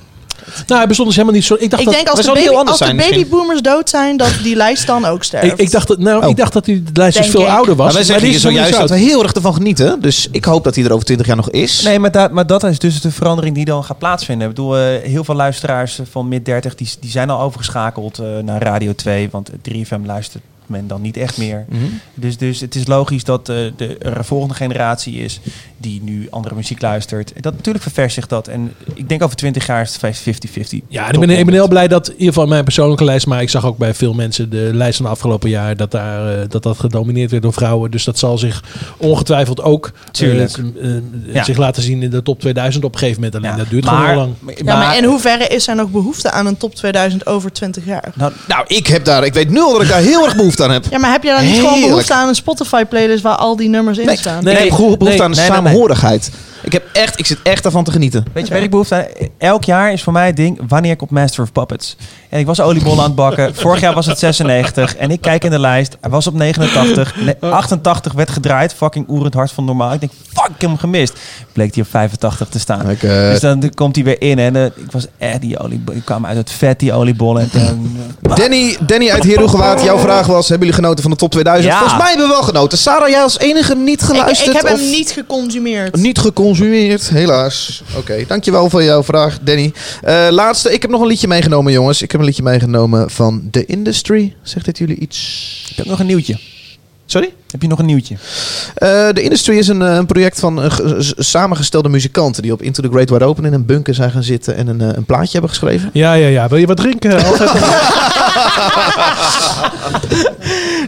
C: Nou, hij bestond dus helemaal niet zo... Ik dacht
A: Ik
C: dat,
A: denk als de,
B: dat zal heel
A: baby,
B: anders
A: als de
B: zijn misschien.
A: babyboomers dood zijn, dat die lijst dan ook sterft.
C: Ik, ik dacht dat, nou,
B: Oh.
C: ik dacht dat die lijst dus
A: Denk
C: veel
A: ik.
C: ouder was.
B: Maar Nou, wij
C: maar
B: zeggen
C: die
B: hier
C: is nog
B: zojuist
C: niet
B: dat
C: zo
B: we
C: oud.
B: heel erg ervan genieten. Dus ik hoop dat hij er over 20 jaar nog is.
D: Nee, maar dat, maar dat is dus de verandering die dan gaat plaatsvinden. Ik bedoel, eh, heel veel luisteraars van mid 30 die, die zijn al overgeschakeld eh, naar Radio 2, want 3FM luistert men dan niet echt meer.
B: Mhm.
D: Dus, dus het is logisch dat eh, de, er een volgende generatie is die nu andere muziek luistert. Dat, natuurlijk ververst zich dat. En ik denk over 20 jaar is het 50-50.
C: Ja, en ik ben, ik ben heel blij dat in ieder geval mijn persoonlijke lijst, maar ik zag ook bij veel mensen de lijst van de afgelopen jaar dat daar, eh, dat, dat gedomineerd werd door vrouwen. Dus dat zal zich ongetwijfeld ook eh,
D: Tuurlijk.
C: t- eh,
D: Ja.
C: zich laten zien in de top 2000 op een gegeven moment. Alleen
D: Ja,
C: dat duurt
D: maar-
C: gewoon heel lang.
A: ja, maar eh, in hoeverre is er nog behoefte aan een top 2000 over 20 jaar?
B: Nou, ik, heb daar, ik weet nu al dat ik daar heel erg behoefte aan heb.
A: Ja, maar heb je dan niet
B: Heerlijk.
A: gewoon behoefte aan een Spotify-playlist waar al die nummers in
B: Nee,
A: staan?
C: Nee,
B: ik heb behoefte
C: nee,
B: aan de
D: nee, nee, nee.
B: saamhorigheid. Ik, heb echt, ik zit echt daarvan te genieten.
D: Weet je waar ik behoefte aan? Elk jaar is voor mij het ding, wanneer ik op Master of Puppets. En ik was oliebollen aan het bakken. Vorig jaar was het 96. En ik kijk in de lijst. Hij was op
A: Oh.
D: 89. Nee, 88 werd gedraaid. Fucking oerend hart van normaal. Ik denk, fuck, ik heb hem gemist. Bleek hij op 85 te staan.
B: Lekker.
D: Dus dan komt hij weer in. En eh, ik was echt die oliebollen. Ik kwam uit het vet, die oliebollen. En toen, eh,
B: Danny, Danny uit Heerhugowaard, jouw vraag was: hebben jullie genoten van de top 2000?
D: Ja.
B: Volgens mij hebben we wel genoten. Sarah, jij als enige niet
A: ik,
B: geluisterd.
A: ik heb hem
B: of
A: niet geconsumeerd.
B: niet geconsumeerd, helaas. Oké, dankjewel voor jouw vraag, Danny. Eh, laatste, ik heb nog een liedje meegenomen, jongens. Ik heb een liedje meegenomen van The Industry. Zegt dit jullie iets?
D: ik heb nog een nieuwtje.
B: Sorry?
D: Heb je nog een nieuwtje?
B: Eh, De Industry is een, eh, een project van eh, ge- s- samengestelde muzikanten die op Into the Great Wide Open in een bunker zijn gaan zitten en een, eh, een plaatje hebben geschreven.
C: Ja, ja, ja. Wil je wat drinken? Alfred?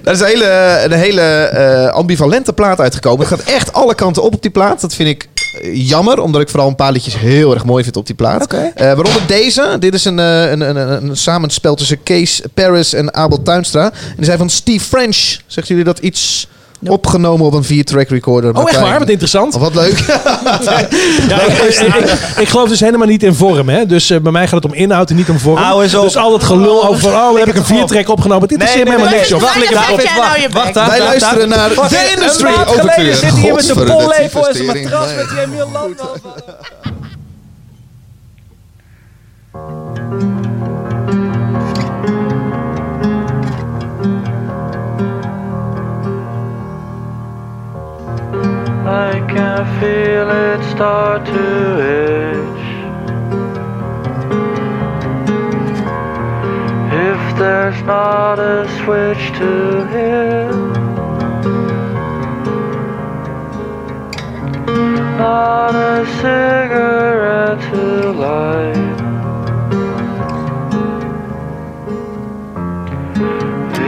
B: Daar is een hele, een hele eh, ambivalente plaat uitgekomen. Het gaat echt alle kanten op op die plaat. Dat vind ik eh, jammer, omdat ik vooral een paar liedjes heel erg mooi vind op die plaat.
D: Oké.
B: Eh, waaronder deze. Dit is een, eh, een, een, een, een samenspel tussen Kees Paris en Abel Tuinstra. En die zijn van Steve French. Zegt jullie dat iets? Opgenomen op een 4-track recorder.
C: Oh, echt
B: Martijn.
C: waar? Wat interessant.
B: Oh, Wat leuk.
C: Ja, ik, ik- ik- ik geloof dus helemaal niet in vorm. Hè? Dus eh, bij mij gaat het om inhoud en niet om vorm.
D: Hou eens op.
C: Dus al dat gelul over van, oh, heb ik een viertrek opgenomen. Dit is helemaal niks, joh.
A: wacht, Waarom wacht, zet jij wacht, nou je wacht, bek?
D: daar,
B: Wij
D: daar,
B: luisteren
D: daar.
B: naar
D: Fuck,
B: The Industry.
D: Een maand
B: Overture.
D: geleden zit hij hier met zijn
B: Godverdomme,
D: pollepel en zijn
B: investering.
D: matras
B: Nee.
D: met die Emil Landman.
J: I can feel it start to itch. If there's not a switch to hit, not a cigarette to light.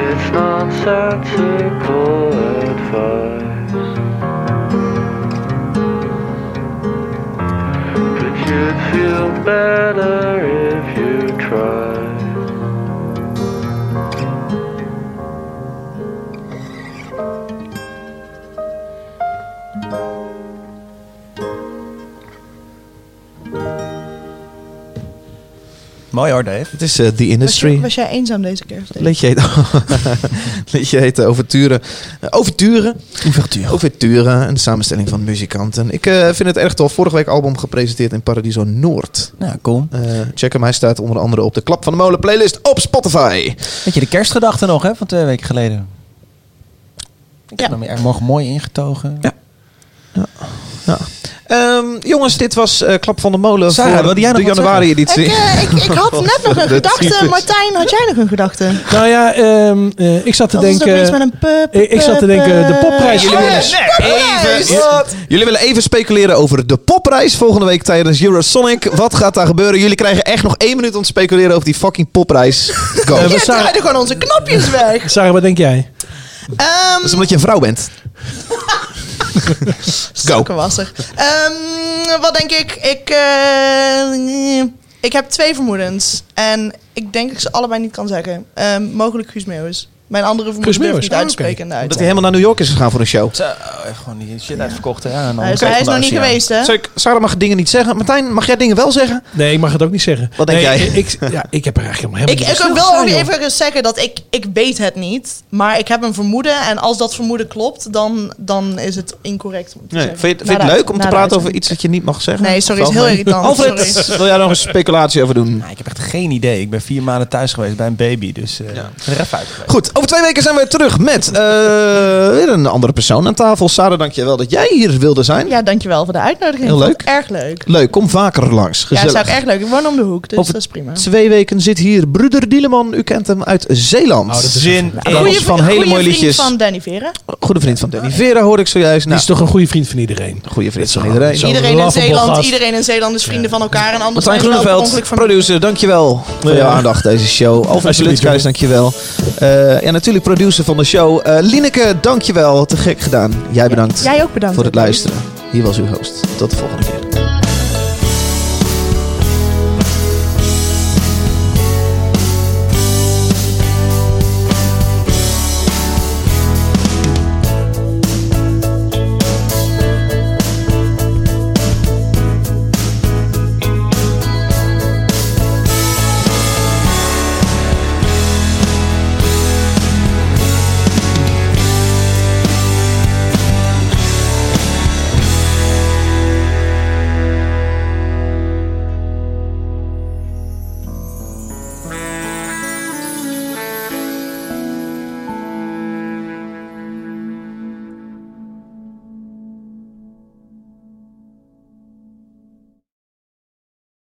J: It's nonsensical advice. But you'd feel better if you tried.
D: Mooi hoor, Dave.
B: Het is eh The
A: Was,
B: Industry.
A: je- was jij eenzaam deze keer? Steve?
B: Liedje heet, liedje heet eh, Overturen. Eh, Overturen. Overturen. Een samenstelling van muzikanten. Ik eh, vind het erg tof. Vorige week album gepresenteerd in Paradiso Noord.
D: Nou, kom.
B: Eh, check hem. Hij staat onder andere op de Klap van de Molen playlist op Spotify.
D: Weet je, de kerstgedachte nog, hè, van twee weken geleden. Ik
A: Ja.
D: heb hem er morgen mooi ingetogen.
B: Ja. Ehm, jongens, dit was eh, Klap van de Molen
D: Sarah,
B: voor
D: wilde jij nog
B: de
D: wat
B: januari editie.
A: Ik, eh, ik, ik had net nog een
B: Dat typisch.
A: gedachte. Martijn, had jij nog een gedachte?
C: Nou ja, ehm, eh, ik zat te
A: Dat is ook iets met
C: denken...
A: een pup. eh,
C: Ik, ik zat te denken, de popprijs...
B: Jullie willen even, jullie willen even speculeren over de popprijs volgende week tijdens Eurosonic. Wat gaat daar gebeuren? Jullie krijgen echt nog één minuut om te speculeren over die fucking popprijs. Go.
C: Eh,
B: dat
A: Je
C: we staan-
A: draaide gewoon onze knopjes weg.
C: Sarah, wat denk jij?
A: Ehm,
B: is omdat je een vrouw bent. Go.
A: Zakken was er. Ehm, wat denk ik? Ik, eh, ik heb twee vermoedens. En ik denk dat ik ze allebei niet kan zeggen. Ehm, mogelijk Guus Meeuwis. Mijn andere vermoeden durf ik
C: Meeuwis,
A: niet
C: ah,
A: uit te
C: oké.
A: spreken. in de
B: Omdat hij
A: uitzending.
B: helemaal naar New York Oh, is gegaan voor een show.
D: Zo, echt gewoon die shit uitverkocht, hè. En dan
A: Hij is, hij is nog niet
D: Oceaan.
A: geweest, hè?
B: Zou ik- Sarah mag dingen niet zeggen. Martijn, mag jij dingen wel zeggen?
C: Nee, ik mag het ook niet zeggen.
B: Wat denk
C: Nee,
B: jij?
C: Ik, ik- ja, ik heb er eigenlijk helemaal
A: Ik,
C: niet bij
A: ik wil ook
C: stilgestaan, joh.
A: even zeggen dat ik, ik weet het niet. Maar ik heb een vermoeden. En als dat vermoeden klopt, dan, dan is het incorrect. om te
B: Nee.
A: zeggen.
B: Vind je, vind je
A: Na
B: het
A: de
B: leuk om te
A: uitzending.
B: praten over iets dat je niet mag zeggen?
A: Nee, sorry, is
B: Of
A: heel
B: wel?
A: irritant.
B: Alfred,
A: Sorry.
B: wil jij nog een speculatie over doen?
D: Nou, ik heb echt geen idee. Ik ben vier maanden thuis geweest bij een baby, dus eh ja. er even uit geweest.
B: Goed, over twee weken zijn we terug met eh, weer een andere persoon aan tafel. Sarah, dankjewel dat jij hier wilde zijn.
A: Ja, dankjewel voor de uitnodiging.
B: Heel
A: Ik vond
B: leuk.
A: het Erg leuk.
B: Leuk, kom vaker langs.
A: Ja,
B: Gezellig.
A: dat is ook erg leuk. Ik woon om de hoek, dus
B: Over
A: dat is prima.
B: Twee weken zit hier broeder Dieleman. U kent hem uit Zeeland.
C: Oh, dat is-
D: Zin
B: En dat
D: in.
B: was van hele
A: goeie
B: mooie
A: vriend
B: liedjes.
A: van Danny Vera.
B: Goede vriend van Danny Vera hoor ik zojuist.
C: Die
B: Nou,
C: is toch een goede vriend van iedereen.
B: goede vriend van
C: Zo-
B: iedereen.
C: zo-
A: Iedereen in,
C: laughable
A: Zeeland,
C: gast.
A: iedereen in Zeeland is vrienden van elkaar. En anders zijn
B: Martijn
A: ze wel per
B: Groeneveld,
A: ongeluk van
B: producer, dankjewel voor
C: Ja.
B: jouw aandacht deze show. Alfred
C: Alsjeblieft,
B: Lutskijs, dankjewel. Eh ja, natuurlijk producer van de show. Eh Lineke, dankjewel. Te gek gedaan. Jij bedankt
A: Jij ook bedankt.
B: voor het luisteren. Hier was uw host. Tot de volgende keer.